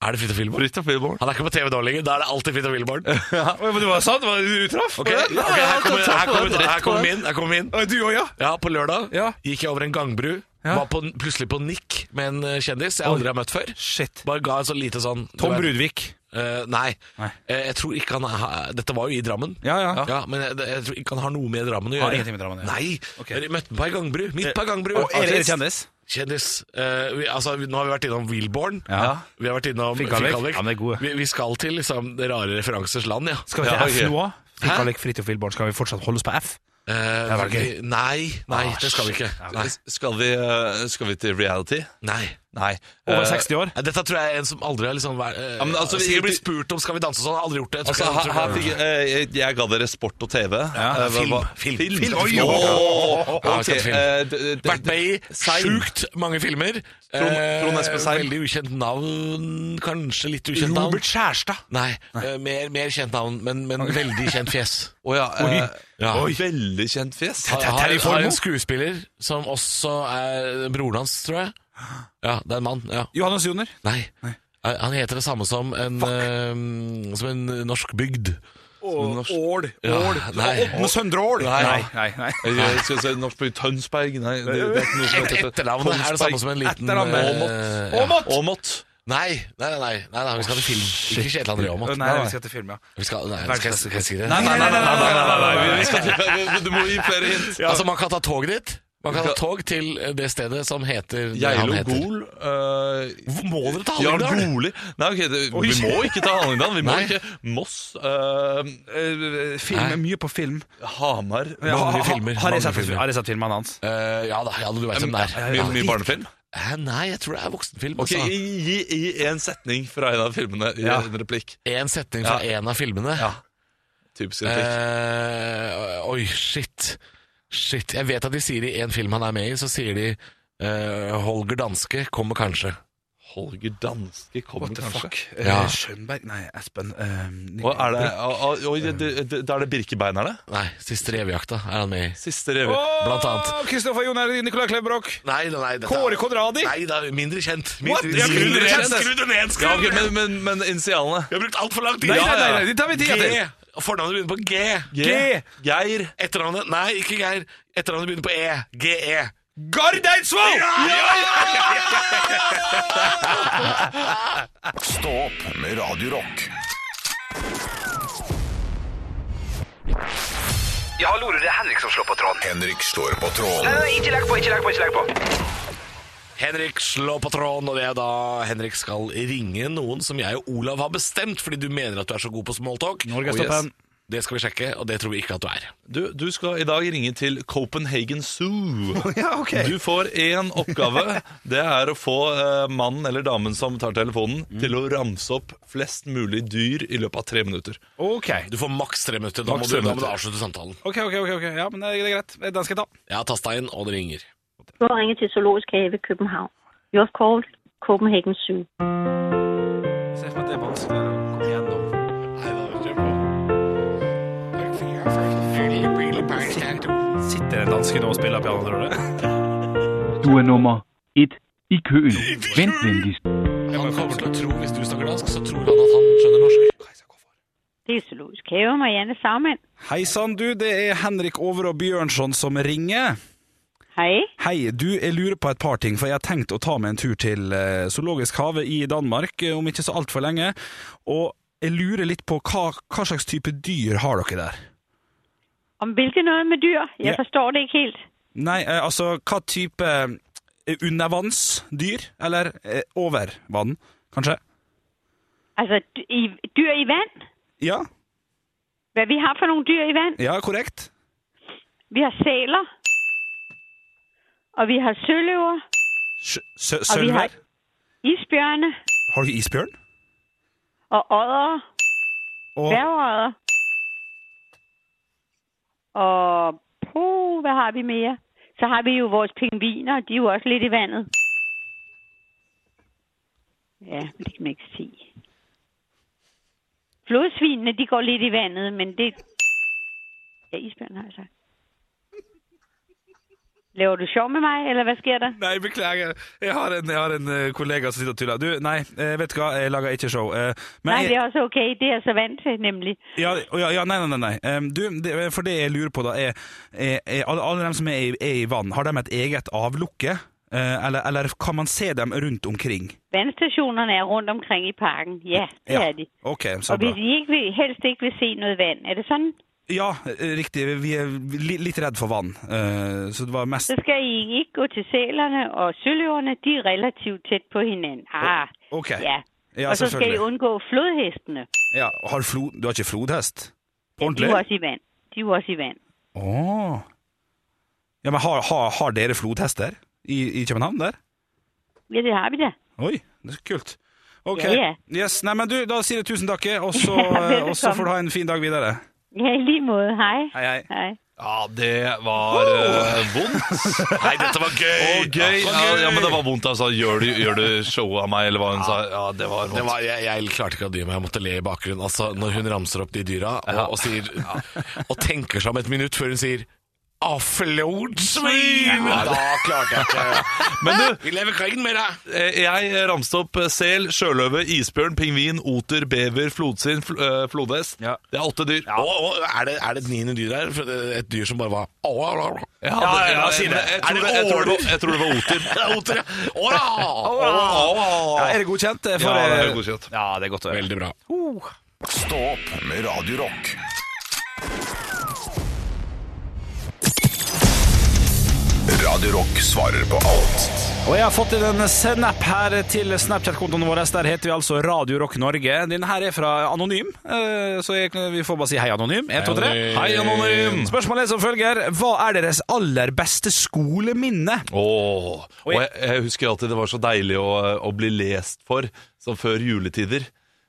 Speaker 3: Er det Fridtjof Wilborn?
Speaker 5: Fridtjof Wilborg.
Speaker 3: Han er ikke på TV nå lenger. Da er det alltid Fridtjof Wilborn.
Speaker 4: *laughs* Ja, men det var sant, det var du traff.
Speaker 3: Ok, ok, her kommer, her kommer, her kommer min. Her kommer min.
Speaker 4: Du òg, ja.
Speaker 3: Ja, på lørdag
Speaker 4: Ja.
Speaker 3: gikk jeg over en gangbru.
Speaker 4: Ja.
Speaker 3: Var på, plutselig på nikk med en eh, kjendis jeg aldri har møtt før.
Speaker 4: Shit.
Speaker 3: Bare ga en sånn lite sånn du
Speaker 4: Tom
Speaker 3: vet,
Speaker 4: Brudvik.
Speaker 3: eh, nei.
Speaker 4: Nei.
Speaker 3: Eh, jeg tror ikke han er, Dette var jo i Drammen.
Speaker 4: Ja, ja.
Speaker 3: Ja, men jeg, jeg tror ikke han har noe med Drammen å
Speaker 4: Har
Speaker 3: gjøre.
Speaker 4: ingenting med Drammen å gjøre.
Speaker 3: Nei,
Speaker 4: Ok. Eh,
Speaker 3: men jeg møtte meg på ei gangbru. Midt på ei gangbru.
Speaker 4: Og er det kjendis?
Speaker 3: Kjendis. Eh, vi, altså, vi, nå har vi vært innom Wilborn.
Speaker 4: Ja.
Speaker 3: Vi har vært innom
Speaker 4: Finn Kalvik. Han er god.
Speaker 3: Vi, vi skal til liksom, det rare referansers land, ja.
Speaker 4: Skal vi
Speaker 5: Ja,
Speaker 4: til F
Speaker 5: ok.
Speaker 4: nå òg?
Speaker 3: Hæ?
Speaker 4: Frikalik Fridtjof Wilborn, skal vi fortsatt holde oss på F?
Speaker 3: Eh,
Speaker 4: var gøy.
Speaker 3: Nei, nei,
Speaker 4: Ah,
Speaker 3: det skal vi ikke. Nei.
Speaker 5: Skal vi, eh, skal vi til reality?
Speaker 3: nei.
Speaker 5: Nei.
Speaker 4: Over
Speaker 5: Eh,
Speaker 4: 60 år?
Speaker 3: Eh, Dette tror jeg er en som aldri har liksom vært eh,
Speaker 5: Ja, men altså, vi-
Speaker 3: Sikkert blitt spurt om 'Skal vi danse' og sånn, har aldri gjort det. Jeg tror ikke-
Speaker 5: Altså, her,
Speaker 3: jeg tror
Speaker 5: her
Speaker 3: ikke-
Speaker 5: fikk, eh, jeg, jeg ga dere sport og TV. Eh, hva-
Speaker 3: film,
Speaker 5: hva-
Speaker 3: film,
Speaker 5: Film!
Speaker 3: film.
Speaker 5: Oi,
Speaker 3: Ja,
Speaker 5: oi, oi.
Speaker 3: ja,
Speaker 5: Ok,
Speaker 3: klart film.
Speaker 5: eh, d- d-
Speaker 3: Vært med i
Speaker 5: Sein.
Speaker 3: sjukt mange filmer.
Speaker 5: Trond-
Speaker 3: Eh,
Speaker 5: Trond Espen Sein.
Speaker 3: Veldig ukjent navn, kanskje litt ukjent navn.
Speaker 4: Robert Skjærstad.
Speaker 3: Nei, eh, mer, mer kjent navn, men, men veldig kjent
Speaker 5: *laughs*
Speaker 3: fjes.
Speaker 5: Å ja, eh,
Speaker 3: Ja.
Speaker 5: oi. Veldig kjent fjes.
Speaker 3: Har,
Speaker 4: Terje
Speaker 3: har,
Speaker 4: Formoe?
Speaker 3: har en skuespiller som også er broren hans, tror jeg. Ja, det er en mann. ja
Speaker 4: Johannes Joner.
Speaker 3: Nei. Eh, Han heter det samme som en, eh, som en norsk bygd.
Speaker 4: Ål.
Speaker 3: Ål.
Speaker 4: Ådne Søndre Ål.
Speaker 5: Nei.
Speaker 4: nei, nei.
Speaker 5: Eh, Jeg skal si norsk by Tønsberg Nei, det, det er ikke noe som
Speaker 3: Et,
Speaker 5: heter
Speaker 3: etternavnet er det samme som en liten
Speaker 5: Etternavnet.
Speaker 3: eh, ja.
Speaker 5: Åmot! Åmot.
Speaker 3: Nei, nei, nei, nei, nei, nei, vi skal til film. Ikke Kjetil André Aamodt.
Speaker 4: Nei, vi skal til film, ja.
Speaker 3: Vi skal, nei, skal, jeg- skal jeg si det?
Speaker 5: Nei, nei, nei, nei, nei, nei, nei, nei, vi skal til- Du må gi flere hint.
Speaker 3: Altså, man kan ta tog dit. Man kan ta tog til eh, det stedet som heter det han
Speaker 5: Geilo
Speaker 3: heter.
Speaker 5: Gol. eh,
Speaker 3: Hvor Må dere ta
Speaker 5: Jarl
Speaker 3: Hallingdal?
Speaker 5: Goli Nei, ok, det, vi må ikke ta Hallingdal. Vi må
Speaker 3: Nei.
Speaker 5: ikke Moss, eh,
Speaker 4: Eh, Film
Speaker 3: Nei.
Speaker 4: er mye på film.
Speaker 5: Hamar
Speaker 4: Ja, ha- ha-
Speaker 3: filmer,
Speaker 4: Har
Speaker 3: mange
Speaker 4: jeg sett,
Speaker 3: filmer.
Speaker 4: har jeg sett filmene hans?
Speaker 3: Eh, ja da, ja, du vet hvem det er.
Speaker 5: Mye, mye barnefilm?
Speaker 3: Eh, Nei, jeg tror det er voksenfilm.
Speaker 5: Ok,
Speaker 3: Altså.
Speaker 5: Gi gi en setning fra en av filmene i en replikk.
Speaker 3: En setning fra en av filmene.
Speaker 5: Typisk replikk.
Speaker 3: Eh, oi, shit. Shit. Jeg vet at de sier i en film han er med i, så sier de eh, Holger Danske kommer kanskje.
Speaker 5: Holger Danske kommer kanskje.
Speaker 4: Eh,
Speaker 3: Ja.
Speaker 4: Schönberg Nei, Espen. eh, Nick-
Speaker 5: Og er det, og, og, og, det, det, da er det Birkebeinerne?
Speaker 3: Nei, Siste revejakta er han med i.
Speaker 5: Siste revy.
Speaker 3: Blant annet.
Speaker 4: Kristoffer Joner, Nicolai Klebrok.
Speaker 3: Nei, nei, nei dette er-
Speaker 4: Kåre Conradi?
Speaker 3: Nei da, mindre kjent.
Speaker 4: What?
Speaker 3: Mindre,
Speaker 4: Ja,
Speaker 3: skru det
Speaker 4: mindre
Speaker 3: ned,
Speaker 4: kjent.
Speaker 3: skru det ned! Skru
Speaker 5: Ja,
Speaker 3: det
Speaker 5: ok,
Speaker 3: ned.
Speaker 5: men, men, men initialene?
Speaker 3: Vi har brukt altfor lang tid!
Speaker 4: Nei,
Speaker 3: Ja,
Speaker 4: nei,
Speaker 3: ja.
Speaker 4: nei, nei, det tar vi tida til.
Speaker 3: G Fornavnet begynner på G.
Speaker 5: G. Geir.
Speaker 3: Etternavnet Nei, ikke Geir. Etternavnet begynner på E. GE.
Speaker 4: Gard Eidsvoll!
Speaker 1: Stå opp med Radio Rock.
Speaker 7: Ja, hallo, du, det er Henrik som slår på tråden.
Speaker 1: Henrik slår på
Speaker 7: Nei,
Speaker 1: tråden.
Speaker 7: nei, ikke legg på, ikke legg på, ikke legg på.
Speaker 3: Henrik slår på tråden, og det er da Henrik skal ringe noen som jeg og Olav har bestemt, fordi du mener at du er så god på smalltalk.
Speaker 4: Norgestoppen.
Speaker 3: Det skal vi sjekke, og det tror vi ikke at du er.
Speaker 5: Du, du skal i dag ringe til Copenhagen Zoo.
Speaker 4: Ja, ok.
Speaker 5: Du får én oppgave. Det er å få eh, mannen eller damen som tar telefonen, til å ramse opp flest mulig dyr i løpet av tre minutter.
Speaker 4: Ok.
Speaker 3: Du får maks tre minutter. Da,
Speaker 5: Maks
Speaker 3: må, du, da må
Speaker 5: tre
Speaker 3: du
Speaker 5: minutter.
Speaker 3: avslutte samtalen.
Speaker 4: Ok, ok, ok, ok. Ja, men det er greit. Den skal jeg ta.
Speaker 3: Jeg har tasta inn, og det ringer.
Speaker 8: Du har ringet til Zoologisk Have København. You have called Copenhagen Zoo.
Speaker 4: Se for meg at det er vanskelig å komme gjennom. Sitter en danske nå og spiller piano, tror du det?
Speaker 9: Du er nummer et i køen. Vent venligst.
Speaker 3: Han kommer til å tro, hvis du snakker dansk, så tror han at han skjønner norsk.
Speaker 8: Det er Zoologisk Have, Marianne Saumann.
Speaker 4: Hei sann, du. Det er Henrik Over og Bjørnson som ringer.
Speaker 8: Hei.
Speaker 4: Hei, du, jeg lurer på et par ting, for jeg har tenkt å ta meg en tur til eh, Zoologisk hage i Danmark eh, om ikke så altfor lenge. Og jeg lurer litt på hva, hva slags type dyr har dere der?
Speaker 8: Om hvilket noget med dyr? Jeg
Speaker 4: Ja.
Speaker 8: forstår det ikke helt.
Speaker 4: Nei, eh, altså, hva type eh, undervannsdyr? Eller eh, over vann, kanskje?
Speaker 8: Altså, dy- i, dyr i vand?
Speaker 4: Ja,
Speaker 8: Hvad vi har for nogle dyr i vand?
Speaker 4: ja, korrekt.
Speaker 8: Vi har sæler. Og vi har søløver.
Speaker 4: Sj- sø-
Speaker 8: Og vi har
Speaker 4: Sølver?
Speaker 8: isbjørne.
Speaker 4: Har du isbjørn?
Speaker 8: Og ådder.
Speaker 4: Og
Speaker 8: Dværgeodder. Og puh, hvad har vi mere? Så har vi jo vores pingviner, de er jo også lidt i vandet. Ja, men det kan man ikke se. Flodsvinene, de går lidt i vandet, men det... Ja, isbjørn har jeg sagt. Laver du sjov med mig, eller hvad sker der?
Speaker 4: Nei, beklager. Jeg har en, jeg har en eh, kollega som sitter og tuller. Du, nei, eh, vet du hva, jeg lager ikke show. eh, men
Speaker 8: Nej,
Speaker 4: jeg-
Speaker 8: det er også okay, det er jeg så vant til, nemlig.
Speaker 4: Ja, å ja, ja nei, nei, nei, nei. Ehm, Du, det, for det jeg lurer på da er, er, er alle, alle dem som er i, er i vann, har de et eget avlukke? Eh, eller, eller kan man se dem rundt omkring?
Speaker 8: Vandstationerne er rundt omkring i parken, ja, det er de.
Speaker 4: Ok, så
Speaker 8: Og
Speaker 4: bra.
Speaker 8: hvis I ikke vil, helst ikke vil se noget vand, er det sådan?
Speaker 4: Ja, eh, riktig. Vi er li, litt redd for vann. Eh, så det var mest
Speaker 8: Så skal I ikke gå til sælerne og søløverne. De er relativt tæt på hinanden. Ah,
Speaker 4: Ok.
Speaker 8: ja.
Speaker 4: Ja,
Speaker 8: og så skal I
Speaker 4: selvfølgelig.
Speaker 8: undgå flodhestene.
Speaker 4: Ja, har flo, du har ikke flodhest?
Speaker 8: De
Speaker 4: Ordentlig?
Speaker 8: er jo også i vand. De er jo også i vand.
Speaker 4: Åh. Ja, men har, har, har dere flodhester i, i København der?
Speaker 8: Ja, det har vi da.
Speaker 4: Oi, det er så kult. Ok.
Speaker 8: Ja, ja.
Speaker 4: Yes, nei, men du, da sier jeg tusen takk, jeg, og så,
Speaker 8: Velbekomme.
Speaker 4: og så får du ha en fin dag videre.
Speaker 8: Ja, i lige måde. Hei.
Speaker 4: Hei, hei.
Speaker 8: Hei.
Speaker 5: Ja, det var eh, vondt.
Speaker 3: Nei, dette var gøy!
Speaker 5: Og gøy.
Speaker 3: Ja,
Speaker 5: Ja, ja, men det var vondt, altså. Gjør du, gjør du show av meg, eller hva hun sa? Ja, det var
Speaker 3: Det
Speaker 5: vondt.
Speaker 3: var, jeg, jeg klarte ikke å dy meg, jeg måtte le i bakgrunnen. Altså, Når hun ramser opp de dyra og, og, sier, og tenker seg om et minutt før hun sier Aflodsvin! da klarte jeg ikke.
Speaker 5: Men du,
Speaker 3: *laughs* Vi lever krigen med deg!
Speaker 5: Eh, Jeg ramste opp eh, sel, sjøløve, isbjørn, pingvin, oter, bever, flodsinn, fl eh, flodhest.
Speaker 4: Ja.
Speaker 5: Det er åtte dyr.
Speaker 3: Og, og, er, det, er det et niende dyr her? For det- Et dyr som bare var Au, au, au.
Speaker 5: Ja,
Speaker 3: ja, ja,
Speaker 5: jeg-
Speaker 3: si det. Er
Speaker 5: jeg- Jeg tror
Speaker 3: det
Speaker 5: det, jeg tror det,
Speaker 3: åler?
Speaker 5: var- jeg tror det var *laughs* oter.
Speaker 3: Det er oter, ja. Au, au, au.
Speaker 4: Ja, er det godkjent? For,
Speaker 5: Ja, det er
Speaker 4: eh,
Speaker 5: godkjent.
Speaker 4: Ja, det er godt å høre.
Speaker 3: Veldig bra.
Speaker 1: Stå opp med Radio Rock. Radio Rock svarer på alt.
Speaker 4: Og jeg har fått inn en snap her til Snapchat-kontoen vår. Der heter vi altså Radio Rock Norge. Denne her er fra Anonym, eh, så jeg, vi får bare si hei, Anonym. 1, 2, 3.
Speaker 5: Hei, anonym!
Speaker 4: Spørsmålet er som følger Hva er deres aller beste skoleminne?
Speaker 5: Åh, og jeg, jeg husker alltid det var så deilig å, å bli lest for, som før juletider.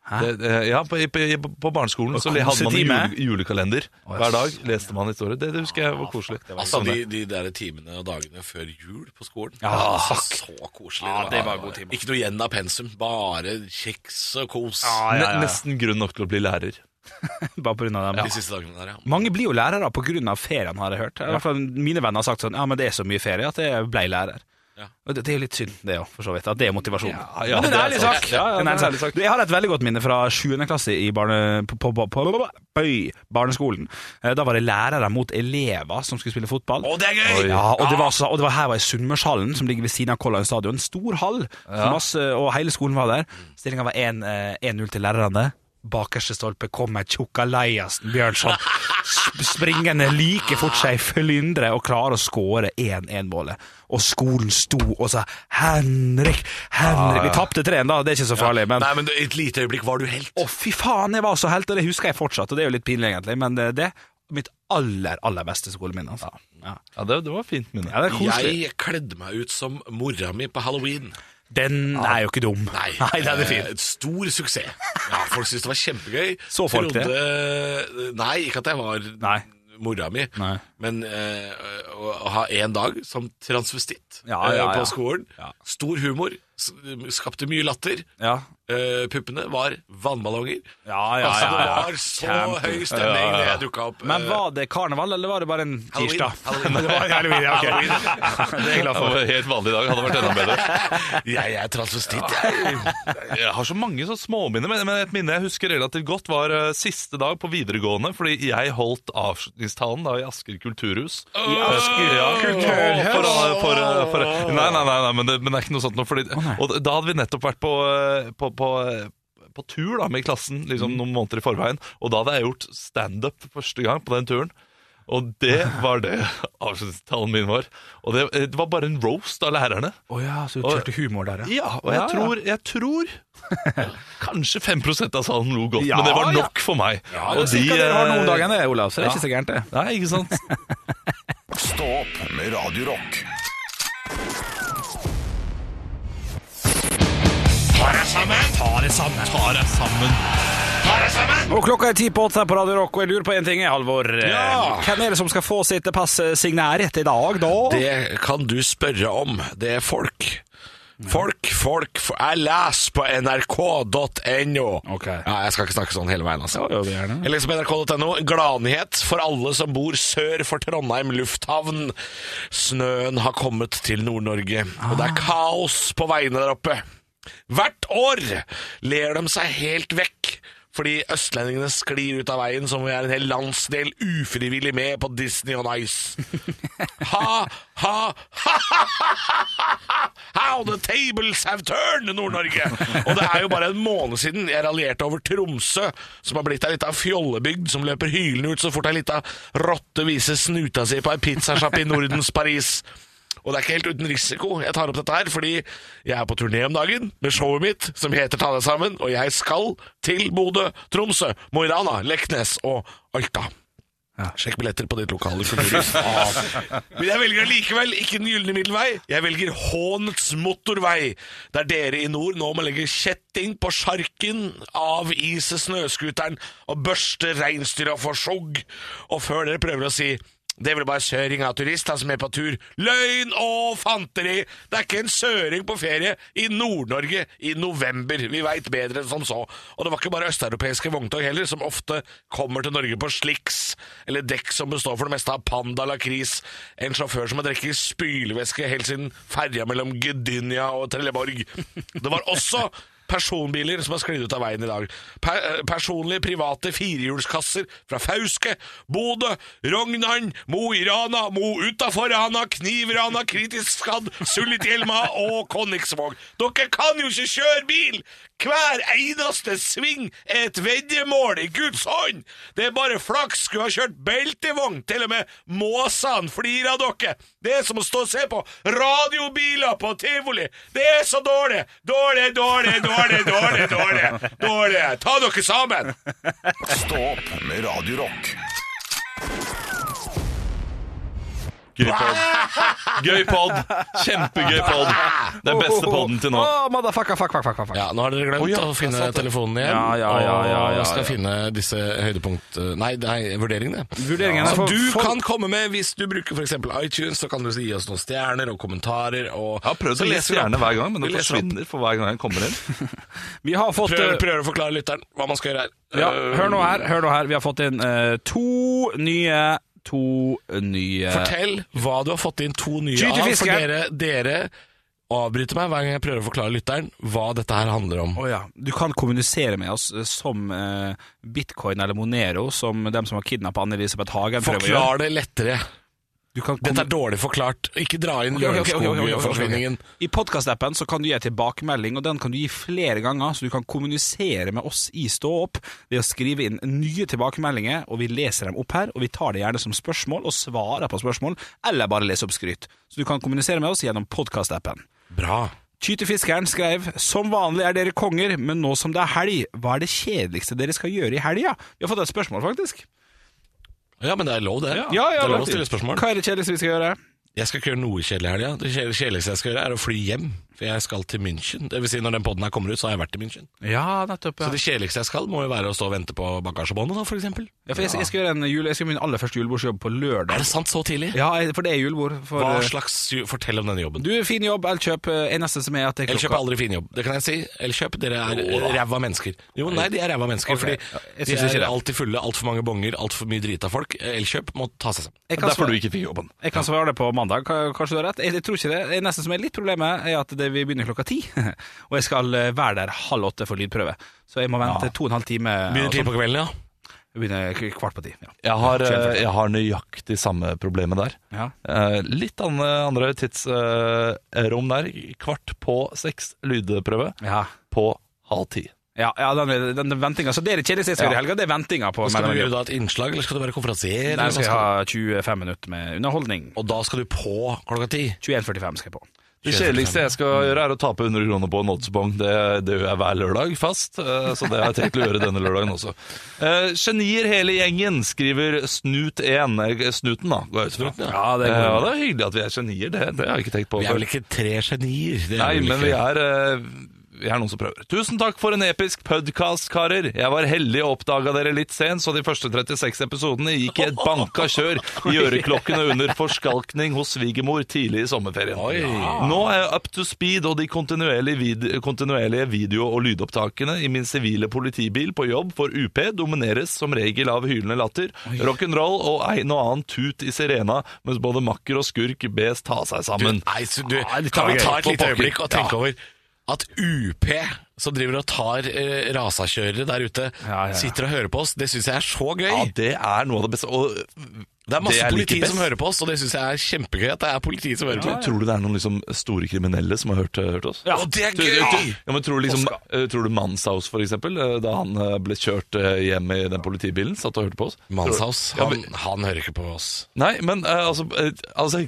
Speaker 5: Det, eh, ja, på, i- på, i- på barneskolen så
Speaker 4: kose
Speaker 5: hadde man en
Speaker 4: time.
Speaker 5: jule, julekalender. Hver dag leste man historier. Det, det husker jeg var sånn, koselig.
Speaker 3: Altså, de, de der timene og dagene før jul på skolen.
Speaker 4: Ja,
Speaker 3: altså, så koselig.
Speaker 4: det var god tid.
Speaker 3: Ikke noe igjen av pensum, bare kjeks og kos
Speaker 5: Ne- Nesten grunn nok til å bli lærer.
Speaker 4: Bare på grunn av dem.
Speaker 3: de siste dagene der, ja.
Speaker 4: Mange blir jo lærere på grunn av ferien, har jeg hørt. I hvert fall Mine venner har sagt sånn Ja, men det er så mye ferie at jeg ble lærer. Og Det, det er jo litt synd, det òg, for så vidt. At det er motivasjonen.
Speaker 5: ja,
Speaker 4: Men det er en
Speaker 5: det
Speaker 4: ærlig
Speaker 5: er sant.
Speaker 4: sak.
Speaker 5: Ja, ja,
Speaker 4: En
Speaker 5: det er
Speaker 4: ærlig
Speaker 5: ærlig
Speaker 4: sak. Du, Jeg har et veldig godt minne fra 7. klasse i barne, på, på, på, på, bøy, barneskolen. Eh, Da var det lærere mot elever som skulle spille fotball.
Speaker 3: Å, det er gøy!
Speaker 4: Ja, og det var, så, og det var her var i Sunnmørshallen, som ligger ved siden av Kollan stadion. En stor hall, masse, og hele skolen var der. Stillinga var 1, eh, 1-0 til lærerne. Bakerste stolpe kommer Tjokkalajasen Bjørnson sp- springende like fort seg i flyndre og klarer å skåre 1-1-målet. Og skolen sto og sa 'Henrik, Henrik' Vi tapte 3-1, da, det er ikke så farlig, men
Speaker 3: Nei, men i et lite øyeblikk var du helt.
Speaker 4: å, fy faen, jeg var så helt, og det husker jeg fortsatt. Og det er jo litt pinlig, egentlig, men eh, det det er mitt aller, aller beste skoleminne. Altså. Ja.
Speaker 5: Ja, det, det var fint minne.
Speaker 4: det er koselig.
Speaker 3: Jeg kledde meg ut som mora mi på halloween.
Speaker 4: Den er jo ikke dum. *laughs*
Speaker 3: Nei,
Speaker 4: den er
Speaker 3: eh,
Speaker 4: fin.
Speaker 3: Et stor suksess. Ja, folk syntes det var kjempegøy.
Speaker 4: Så folk det?
Speaker 3: Trodde- Nei, ikke at jeg var
Speaker 4: Nei.
Speaker 3: mora mi,
Speaker 4: Nei.
Speaker 3: men eh, å, å ha en dag som transvestitt
Speaker 4: Ja, ja,
Speaker 3: eh,
Speaker 4: ja.
Speaker 3: på skolen.
Speaker 4: Ja.
Speaker 3: Stor humor, s- skapte mye latter.
Speaker 4: Ja.
Speaker 3: Eh, puppene var vannballonger.
Speaker 4: Ja, ja,
Speaker 3: altså,
Speaker 4: ja, ja.
Speaker 3: Det var så
Speaker 4: Kjempe.
Speaker 3: høy stemning da jeg dukka opp.
Speaker 4: Men
Speaker 3: eh,
Speaker 4: var det karneval, eller var det bare en
Speaker 3: Halloween.
Speaker 4: tirsdag?
Speaker 3: Halloween.
Speaker 4: *laughs* det var en halloween, ja, ok. *laughs* Det er jeg glad
Speaker 5: Det
Speaker 4: for.
Speaker 5: var helt vanlig i dag. Hadde *laughs* vært enda bedre.
Speaker 3: Eh, jeg er transvestitt, jeg.
Speaker 5: Jeg har så mange sånne småminner, men, men et minne jeg husker relativt godt, var eh, siste dag på videregående, fordi jeg holdt avslutningstalen da i Asker kulturhus. I Asker, ja.
Speaker 4: Kulturhus?
Speaker 5: For, eh, for, eh, for, eh, nei, nei, nei, nei men, det, men det er ikke noe sånt nå. Fordi, og da hadde vi nettopp vært på, eh, på, på eh, på tur da, med klassen liksom, noen måneder i forveien, og da hadde jeg gjort standup for første gang på den turen. Og det var det *laughs* avslutningstalen min var. Og det, eh, det var bare en roast av lærerne.
Speaker 4: Å ja, så du kjørte humor der, ja.
Speaker 5: Ja, og
Speaker 4: Ja,
Speaker 5: jeg
Speaker 4: ja.
Speaker 5: tror, jeg tror *laughs* Kanskje 5 av salen lo godt,
Speaker 4: Ja,
Speaker 5: men det var
Speaker 4: ja.
Speaker 5: nok for meg.
Speaker 4: Og de, dere har noen dager det, Olav, så det er
Speaker 5: ja.
Speaker 4: ikke så gærent, det.
Speaker 5: Nei, ikke
Speaker 4: *laughs*
Speaker 5: sant?
Speaker 1: Stå opp med Radio Rock.
Speaker 4: Og klokka er ti på åtte her på Radio Rock, og jeg lurer på én ting, Halvor. Eh,
Speaker 3: Ja.
Speaker 4: Hvem er det som skal få sitt pass signert i dag, da?
Speaker 3: Det kan du spørre om. Det er folk. Folk, folk, fo- Jeg leser på nrk.no.
Speaker 4: Ok.
Speaker 3: Ja, jeg skal ikke snakke sånn hele veien, altså.
Speaker 4: Jo, jo, det er det.
Speaker 3: Jeg leser på nrk.no. Gladnyhet for alle som bor sør for Trondheim lufthavn. Snøen har kommet til Nord-Norge, og det er kaos på veiene der oppe. Hvert år ler de seg helt vekk. Fordi østlendingene sklir ut av veien som om vi er en hel landsdel ufrivillig med på Disney on Ice. Ha, ha, ha, ha, ha, ha, ha, How the tables have turned, Nord-Norge! Og det er jo bare en måned siden jeg raljerte over Tromsø, som har blitt ei lita fjollebygd som løper hylende ut så fort ei lita rotte viser snuta si på ei pizzasjapp i Nordens Paris. Og det er ikke helt uten risiko jeg tar opp dette her, fordi jeg er på turné om dagen med showet mitt som heter Ta deg sammen, og jeg skal til Bodø, Tromsø, Mo i Rana, Leknes og Alta. Sjekk billetter på ditt lokale kulturhus. Men jeg velger allikevel ikke den gylne middelvei. Jeg velger hånets motorvei, der dere i nord nå må legge kjetting på sjarken, avise snøskuteren og børste reinsdyra for skjogg. Og før dere prøver å si det er vel bare søring av turister som er på tur. Løgn og fanteri! Det er ikke en søring på ferie i Nord-Norge i november. Vi veit bedre enn som så. Og det var ikke bare østeuropeiske vogntog heller, som ofte kommer til Norge på sliks, eller dekk som består for det meste av panda lakris. En sjåfør som har drukket spylevæske helt siden ferja mellom Gdynia og Trelleborg. Det var også Personbiler som har sklidd ut av veien i dag. Per eh, personlige private firehjulskasser fra Fauske, Bodø, Rognan, Mo i Rana, Mo utafor Rana, Knivrana, Kritisk skadd, Sulitjelma og Konnigsvåg. Dere kan jo ikke kjøre bil! Hver eneste sving er et veddemål i Guds hånd! Det er bare flaks skulle ha kjørt beltevogn, til og med måsene flirer av dere. Det er som å stå og se på radiobiler på tivoli. Det er så dårlig! Dårlig, dårlig, dårlig, dårlig, dårlig! dårlig. Ta dere sammen!
Speaker 1: Stå opp med Radio Rock.
Speaker 5: Gøy pod. Gøy pod. Kjempegøy pod. Den beste poden til nå.
Speaker 4: Å, motherfucker, fuck, fuck, fuck, fuck.
Speaker 3: Ja, Nå har dere glemt å finne telefonen igjen,
Speaker 4: Ja, ja, ja, ja, ja,
Speaker 3: og skal
Speaker 4: ja.
Speaker 3: finne disse høydepunkt... Nei, nei vurderingene.
Speaker 4: Vurderingene
Speaker 3: Som
Speaker 4: for-
Speaker 3: du
Speaker 4: for-
Speaker 3: kan komme med hvis du bruker f.eks. iTunes, så kan du gi oss noen stjerner og kommentarer. Og
Speaker 5: Jeg har prøvd
Speaker 3: så
Speaker 5: å
Speaker 3: leser vi
Speaker 5: lese
Speaker 3: opp.
Speaker 5: gjerne hver gang, men det
Speaker 3: Vi leser opp.
Speaker 5: forsvinner for hver gang jeg kommer inn.
Speaker 4: Vi har fått
Speaker 3: Prøver,
Speaker 4: eh,
Speaker 3: prøver å forklare lytteren hva man skal gjøre her.
Speaker 4: Ja,
Speaker 3: Eh,
Speaker 4: hør nå her, hør nå her. Vi har fått inn eh, to nye To nye
Speaker 3: Fortell hva du har fått inn to nye
Speaker 4: Skyt i
Speaker 3: av, for
Speaker 4: fisken!
Speaker 3: dere, dere avbryter meg hver gang jeg prøver å forklare lytteren hva dette her handler om.
Speaker 4: Å ja. Du kan kommunisere med oss eh, som eh, bitcoin eller Monero, som dem som har kidnappa Anne-Elisabeth Hagen prøver å gjøre.
Speaker 3: Forklar det lettere.
Speaker 4: Du kan
Speaker 3: Dette
Speaker 4: kommu-
Speaker 3: er dårlig forklart. Ikke dra inn
Speaker 4: Ok, ok, ok, ok, ok, ok, ok.
Speaker 3: Lørenskog-forsvinningen.
Speaker 4: I podkastappen så kan du gi en tilbakemelding, og den kan du gi flere ganger, så du kan kommunisere med oss i Stå opp ved å skrive inn nye tilbakemeldinger, og vi leser dem opp her, og vi tar det gjerne som spørsmål og svarer på spørsmål, eller bare leser opp skryt. Så du kan kommunisere med oss gjennom podkastappen.
Speaker 3: Bra.
Speaker 4: Tytefiskeren skrev Som vanlig er dere konger, men nå som det er helg, hva er det kjedeligste dere skal gjøre i helga? Vi har fått et spørsmål, faktisk.
Speaker 3: Ja, men det er lov, det. det er lov å stille spørsmål.
Speaker 4: Hva er det kjedeligste vi skal gjøre?
Speaker 3: Jeg skal ikke gjøre noe kjedelig i helga. Det kjede- kjedeligste jeg skal gjøre, er å fly hjem. For jeg skal til München. Det vil si, når den poden her kommer ut, så har jeg vært i München.
Speaker 4: Ja, nettopp.
Speaker 3: Så det kjedeligste jeg skal, må jo være å stå og vente på bagasjebåndet, da, for eksempel.
Speaker 4: Ja, for jeg, jeg skal gjøre en jule, jeg skal gjøre min aller første julebordsjobb på
Speaker 3: Er
Speaker 4: lørdag.
Speaker 3: det sant så tidlig?
Speaker 4: Ja, jeg- for det er julebord. For,
Speaker 3: Hva
Speaker 4: eh,
Speaker 3: slags ju- Fortell om denne jobben.
Speaker 4: Du, fin jobb, Elkjøp. eh, Eneste som er at det er
Speaker 3: Elkjøp er aldri fin jobb, det kan jeg si. Elkjøp, dere er eh, ræva mennesker. Jo, nei, de er ræva mennesker,
Speaker 4: Ja, jeg
Speaker 3: fordi
Speaker 4: synes
Speaker 3: de
Speaker 4: ikke
Speaker 3: er
Speaker 4: det.
Speaker 3: alltid fulle, altfor mange bonger, altfor mye drita folk. Elkjøp må ta seg sammen.
Speaker 4: Jeg kan
Speaker 5: Derfor
Speaker 4: svare-
Speaker 5: du ikke fikk jobben.
Speaker 4: Jeg kan svare det på mandag, Ka- kanskje du har rett. Jeg, jeg tror ikke det. Det neste som er litt problemet, er at det, vi begynner klokka ti. *laughs* Og jeg skal eh, være der halv åtte for lydprøve. Så jeg må vente to og en halv time.
Speaker 3: Begynner
Speaker 4: og
Speaker 3: tidlig
Speaker 4: sånn.
Speaker 3: på kvelden, ja.
Speaker 4: Begynner k- kvart på ti. Ja.
Speaker 5: Jeg har, eh,
Speaker 4: Kjempe.
Speaker 5: jeg har nøyaktig samme problemet der.
Speaker 4: Ja.
Speaker 5: Eh, Litt anne, andre tidsrom der. Kvart på seks lydprøve
Speaker 4: Ja.
Speaker 5: på halv ti.
Speaker 4: Ja, ja, den, den, den ventinga. Så det er det kjedeligste jeg skal
Speaker 5: Ja.
Speaker 4: gjøre i helga. Det er ventinga på
Speaker 3: Skal du
Speaker 4: mellom-
Speaker 3: gjøre da et innslag, eller skal du være konferansier?
Speaker 4: Nei,
Speaker 3: eller
Speaker 4: jeg skal
Speaker 3: hva
Speaker 4: ha
Speaker 3: skal du-
Speaker 4: 25 minutter med underholdning.
Speaker 3: Og da skal du på klokka ti?
Speaker 4: 21.45 skal jeg på.
Speaker 5: Det kjedeligste jeg
Speaker 4: Mm.
Speaker 5: skal gjøre, er å tape 100 kroner på en oddsbong. Det, det gjør jeg hver lørdag fast, eh, så det har jeg tenkt å gjøre denne lørdagen også. Eh, Genier hele gjengen, skriver Snut1. Eh, Snuten, da, går jeg ut fra.
Speaker 4: Ja, det er
Speaker 5: Eh,
Speaker 4: god.
Speaker 5: ja, det er hyggelig at vi er genier, det, det har jeg ikke tenkt på
Speaker 3: Vi er vel ikke tre genier? det er
Speaker 5: Nei,
Speaker 3: vel
Speaker 5: men
Speaker 3: ikke.
Speaker 5: vi er, eh, vi er noen som prøver. Tusen takk for en episk podcast, karer. Jeg var heldig og oppdaga dere litt sent, så de første 36 episodene gikk i et banka kjør i øreklokkene under forskalkning hos svigermor tidlig i sommerferien. Nå er jeg up to speed, og de kontinuerlige, vid kontinuerlige video- og lydopptakene i min sivile politibil på jobb for UP domineres som regel av hylende latter, rock'n'roll og en og annen tut i sirena, mens både makker og skurk bes ta seg
Speaker 3: Du,
Speaker 5: sammen.
Speaker 3: nei, så du,
Speaker 5: Ja, litt
Speaker 3: kan vi
Speaker 5: gøy.
Speaker 3: ta et
Speaker 5: For
Speaker 3: lite
Speaker 5: pokker.
Speaker 3: øyeblikk og tenke over at UP, som driver og tar eh, rasakjørere der ute,
Speaker 4: Ja, ja, ja.
Speaker 3: sitter og hører på oss? Det syns jeg er så gøy!
Speaker 5: Ja, det er noe av det beste. Og
Speaker 3: Det er masse
Speaker 5: jeg liker
Speaker 3: politi
Speaker 5: best.
Speaker 3: som hører på oss, og det syns jeg er kjempegøy. at det er politi som hører på oss.
Speaker 5: Tror du det er noen liksom store kriminelle som har hørt, hørt oss?
Speaker 3: Og det er
Speaker 5: Tror,
Speaker 3: gøy!
Speaker 5: tror, ja, men tror, du liksom, eh, tror du Manshaus, for eksempel, eh, da han eh, ble kjørt eh, hjem i den politibilen, satt og hørte på oss?
Speaker 3: Manshaus,
Speaker 5: Tror- Ja,
Speaker 3: han,
Speaker 5: men,
Speaker 3: han hører ikke på oss.
Speaker 5: nei, men eh, altså, eh, altså *laughs*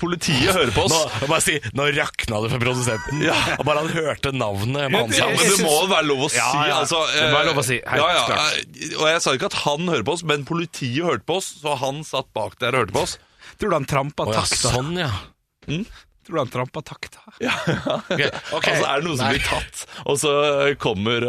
Speaker 5: Politiet hører på
Speaker 3: Nå,
Speaker 5: oss.
Speaker 3: jeg bare si, nå rakna det for produsenten. Og bare han hørte navnet
Speaker 5: Ja, men
Speaker 3: Manshaus.
Speaker 5: det må være lov å si,
Speaker 4: Ja, ja.
Speaker 5: altså.
Speaker 4: Det må være lov å si, helt
Speaker 5: ja, ja,
Speaker 4: klart.
Speaker 5: eh, Og jeg sa ikke at han hører på oss, men politiet hørte på oss, så han satt bak der og hørte på oss.
Speaker 4: Tror du han trampa
Speaker 3: Å ja,
Speaker 4: takta?
Speaker 3: sånn, ja.
Speaker 4: Tror du han trampa takta?
Speaker 3: Ok, ok.
Speaker 5: Altså er det noen som
Speaker 3: Nei.
Speaker 5: blir tatt, og så eh, kommer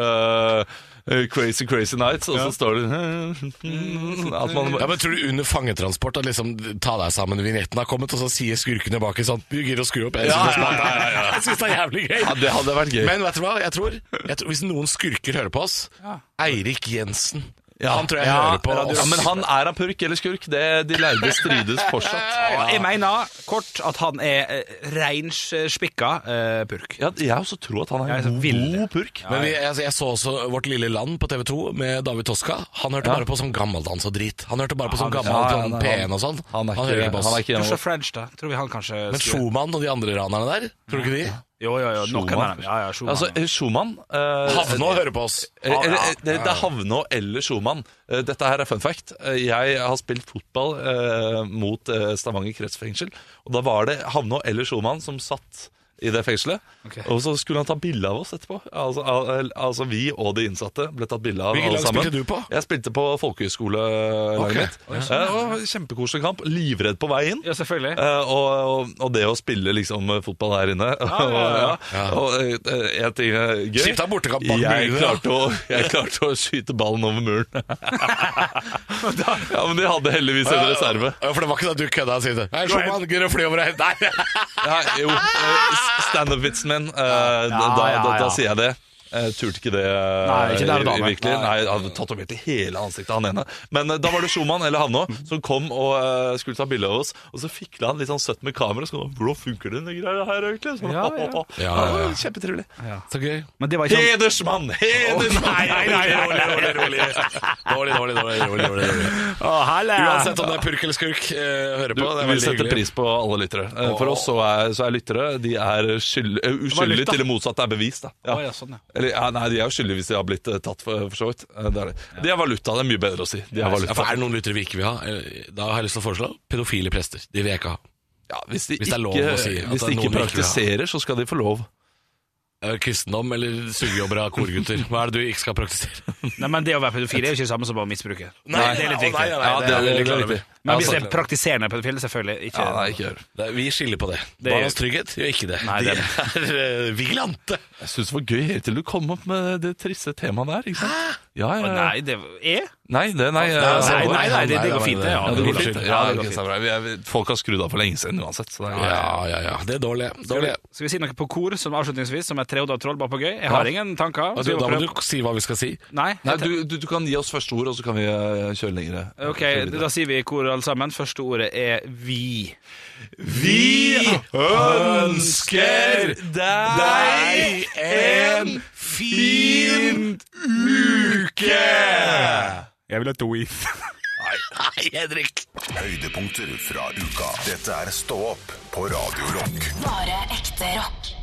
Speaker 5: eh, Crazy Crazy Nights, og så står det *laughs* At man
Speaker 3: Ja, men Tror du under fangetransport at liksom ta deg sammen, vignetten har kommet, og så sier skurkene baki sånn Du gidder å skru opp? Jeg syns det, er smart. *laughs* Jeg synes det er jævlig gøy.
Speaker 5: Ja, det hadde vært gøy.
Speaker 3: Men vet du hva, jeg tror, jeg tror hvis noen skurker hører på oss Eirik Jensen. Han tror jeg
Speaker 5: Ja,
Speaker 3: hører på oss.
Speaker 5: ja, men han er han purk eller skurk? Det, de lærde strides
Speaker 3: *laughs*
Speaker 5: fortsatt.
Speaker 4: Jeg mener kort at han er eh, reinspikka eh, purk.
Speaker 5: Ja, jeg også tror at han
Speaker 4: Jeg
Speaker 5: er
Speaker 4: er så
Speaker 5: en
Speaker 4: vill.
Speaker 5: god purk.
Speaker 3: Men vi, altså, jeg, jeg så også Vårt lille land på TV 2 med David Toska. Han hørte bare på sånn gammeldans og drit. Han hørte bare på sånn
Speaker 5: han-
Speaker 3: gammel
Speaker 5: ja, ja,
Speaker 3: sånn
Speaker 5: han-
Speaker 3: P1 og sånn.
Speaker 5: Han er
Speaker 3: hører
Speaker 5: ikke,
Speaker 3: ikke på
Speaker 5: han
Speaker 3: oss.
Speaker 5: er ikke
Speaker 4: Joshua French, da. Tror vi han kanskje
Speaker 3: Men Schumann og de andre ranerne der, tror du ikke de?
Speaker 4: Jo, jo, jo. Noen
Speaker 5: Schumann.
Speaker 4: av dem. Ja, ja, Schumann.
Speaker 5: Altså, eh, Schumann eh,
Speaker 3: Havne og høre på oss.
Speaker 5: Eh, eller, eh, det, det er Havnå eller Schumann. Eh, Dette her er fun fact. Eh, Jeg har spilt fotball eh, mot eh, Stavanger kretsfengsel. Og da var det Havnå eller Schumann som satt i det fengselet.
Speaker 4: Ok.
Speaker 5: Og så skulle han ta bilde av oss etterpå. Altså, al al- altså vi og de innsatte ble tatt bilde av
Speaker 3: Hvilket
Speaker 5: alle
Speaker 3: lag
Speaker 5: sammen.
Speaker 3: spilte du på?
Speaker 5: Jeg spilte på folkehøyskolelaget
Speaker 3: Ok. sånn,
Speaker 5: mitt. Eh, og det var en Kjempekoselig kamp. Livredd på vei inn.
Speaker 4: Ja, selvfølgelig.
Speaker 5: Eh, og, og, og det å spille liksom fotball her inne
Speaker 4: ja, ja.
Speaker 5: *laughs* og, ja. og eh, en ting er gøy
Speaker 3: Kjipt at bortekamp bak murene,
Speaker 5: jeg
Speaker 3: da.
Speaker 5: klarte, å, jeg klarte å skyte ballen over
Speaker 4: *laughs*
Speaker 5: muren *laughs* Ja, men de hadde heldigvis en reserve
Speaker 3: Ja, for det var ikke da du kødda og sa det. Hei, Schumann, gidder å fly over og hente Nei!
Speaker 5: Nei, Jo, eh, stand-up-vitsen min eh, da, da, da,
Speaker 4: ja, ja.
Speaker 5: sier jeg det Eh, turte ikke det eh,
Speaker 4: Nei, ikke der og da, nei.
Speaker 5: virkelig. Nei, jeg hadde tatovert i hele ansiktet, han ene. Men eh, da var det Schumann eller Hanno som kom og eh, skulle ta bilde av oss. Og så fikla han litt sånn søtt med kamera. Så kom han, Hvordan funker den greia her, egentlig? Så,
Speaker 4: Ja, ja.
Speaker 3: Ja, ja, ja.
Speaker 5: Kjempetrivelig.
Speaker 3: Så gøy.
Speaker 4: Men det var ikke sånn
Speaker 5: Hedersmann! Hedersmann!
Speaker 3: Nei, nei, nei, rolig, rolig, rolig. Dårlig, dårlig, dårlig, dårlig, dårlig, dårlig.
Speaker 4: Å, herlig!
Speaker 3: Uansett om det er purk eller skurk, eh, høre
Speaker 5: Du,
Speaker 3: på. Det er
Speaker 5: vi
Speaker 3: veldig
Speaker 5: setter
Speaker 3: hyggelig.
Speaker 5: pris på alle lyttere. Eh, For oss så er, så er lyttere De er skyld, eh, uskyldige til det motsatte er bevis. Da. Ja.
Speaker 4: Å, ja, sånn, ja.
Speaker 5: Eller, ja, nei, de er jo skyldige hvis de har blitt eh, tatt, for, for så vidt. Eh, Det er det. De er valuta, det er mye bedre å si. De er
Speaker 3: Ja, for
Speaker 5: valuta.
Speaker 3: er det noen lyttere vi ikke vil ha? eh, Da har jeg lyst til å foreslå pedofile prester. De vil jeg ikke ha.
Speaker 5: Ja, hvis de
Speaker 3: Hvis det
Speaker 5: ikke,
Speaker 3: er lov å si at
Speaker 5: hvis
Speaker 3: det er noen vi
Speaker 5: de ikke
Speaker 3: ikke vil ha.
Speaker 5: praktiserer, så skal de få lov.
Speaker 3: Eh, Kristendom eller sugejobber av korgutter. Hva er det du ikke skal praktisere?
Speaker 4: Nei, men det å være pedofil er jo ikke det samme som å misbruke.
Speaker 3: Nei,
Speaker 4: det er litt
Speaker 3: nei,
Speaker 4: viktig.
Speaker 3: nei, nei, altså-
Speaker 5: Ja,
Speaker 3: det
Speaker 5: det
Speaker 3: er
Speaker 5: er
Speaker 3: veldig
Speaker 5: veldig
Speaker 3: klar over.
Speaker 5: riktig.
Speaker 4: Men
Speaker 5: Ja,
Speaker 4: hvis det
Speaker 5: sant.
Speaker 4: er praktiserende pedofil, selvfølgelig ikke.
Speaker 5: Ja, nei, ikke gjør det.
Speaker 3: Det er- Vi skiller på det.
Speaker 4: Det-
Speaker 3: Barnas trygghet gjør ikke det.
Speaker 4: Nei,
Speaker 3: de
Speaker 4: det-
Speaker 3: er eh, vigilante.
Speaker 5: Jeg syns det var gøy helt til du kom opp med det triste temaet der. Ikke sant? Ja, ja,
Speaker 3: Eh,
Speaker 5: ja.
Speaker 4: Nei, det er
Speaker 5: Nei, det, nei, eh,
Speaker 4: Nei,
Speaker 5: altså,
Speaker 4: nei,
Speaker 5: ja,
Speaker 4: nei, det, det går fint, det. Ja,
Speaker 3: Ja,
Speaker 5: det går
Speaker 3: Unnskyld.
Speaker 5: fint.
Speaker 4: Ja,
Speaker 5: Ja,
Speaker 4: det går
Speaker 5: ok,
Speaker 4: fint.
Speaker 5: så bra. Vi er- vi- Folk har skrudd av for lenge siden uansett. Så det er greit.
Speaker 3: Ja, ja, ja. Det er dårlig.
Speaker 4: Skal vi,
Speaker 3: dårlig.
Speaker 4: skal vi si noe på kor som avslutningsvis, som er Treodor Troll bare på gøy? Jeg har ingen tanker.
Speaker 3: Ja,
Speaker 4: Skal
Speaker 3: du,
Speaker 4: vi
Speaker 3: da må
Speaker 4: prøve?
Speaker 3: du si hva vi skal si.
Speaker 4: Nei?
Speaker 5: Nei, du, du, du kan gi oss første ord, og så kan vi eh, kjøre lengre.
Speaker 4: Ok, da sier vi i kor alle sammen. Første ordet er vi.
Speaker 5: Vi
Speaker 3: ønsker
Speaker 5: deg
Speaker 3: en
Speaker 5: fin uke!
Speaker 4: Jeg vil ha to if.
Speaker 3: Nei, Henrik!
Speaker 1: Høydepunkter fra uka. Dette er Stå opp på Radio Rock.
Speaker 2: Bare ekte rock.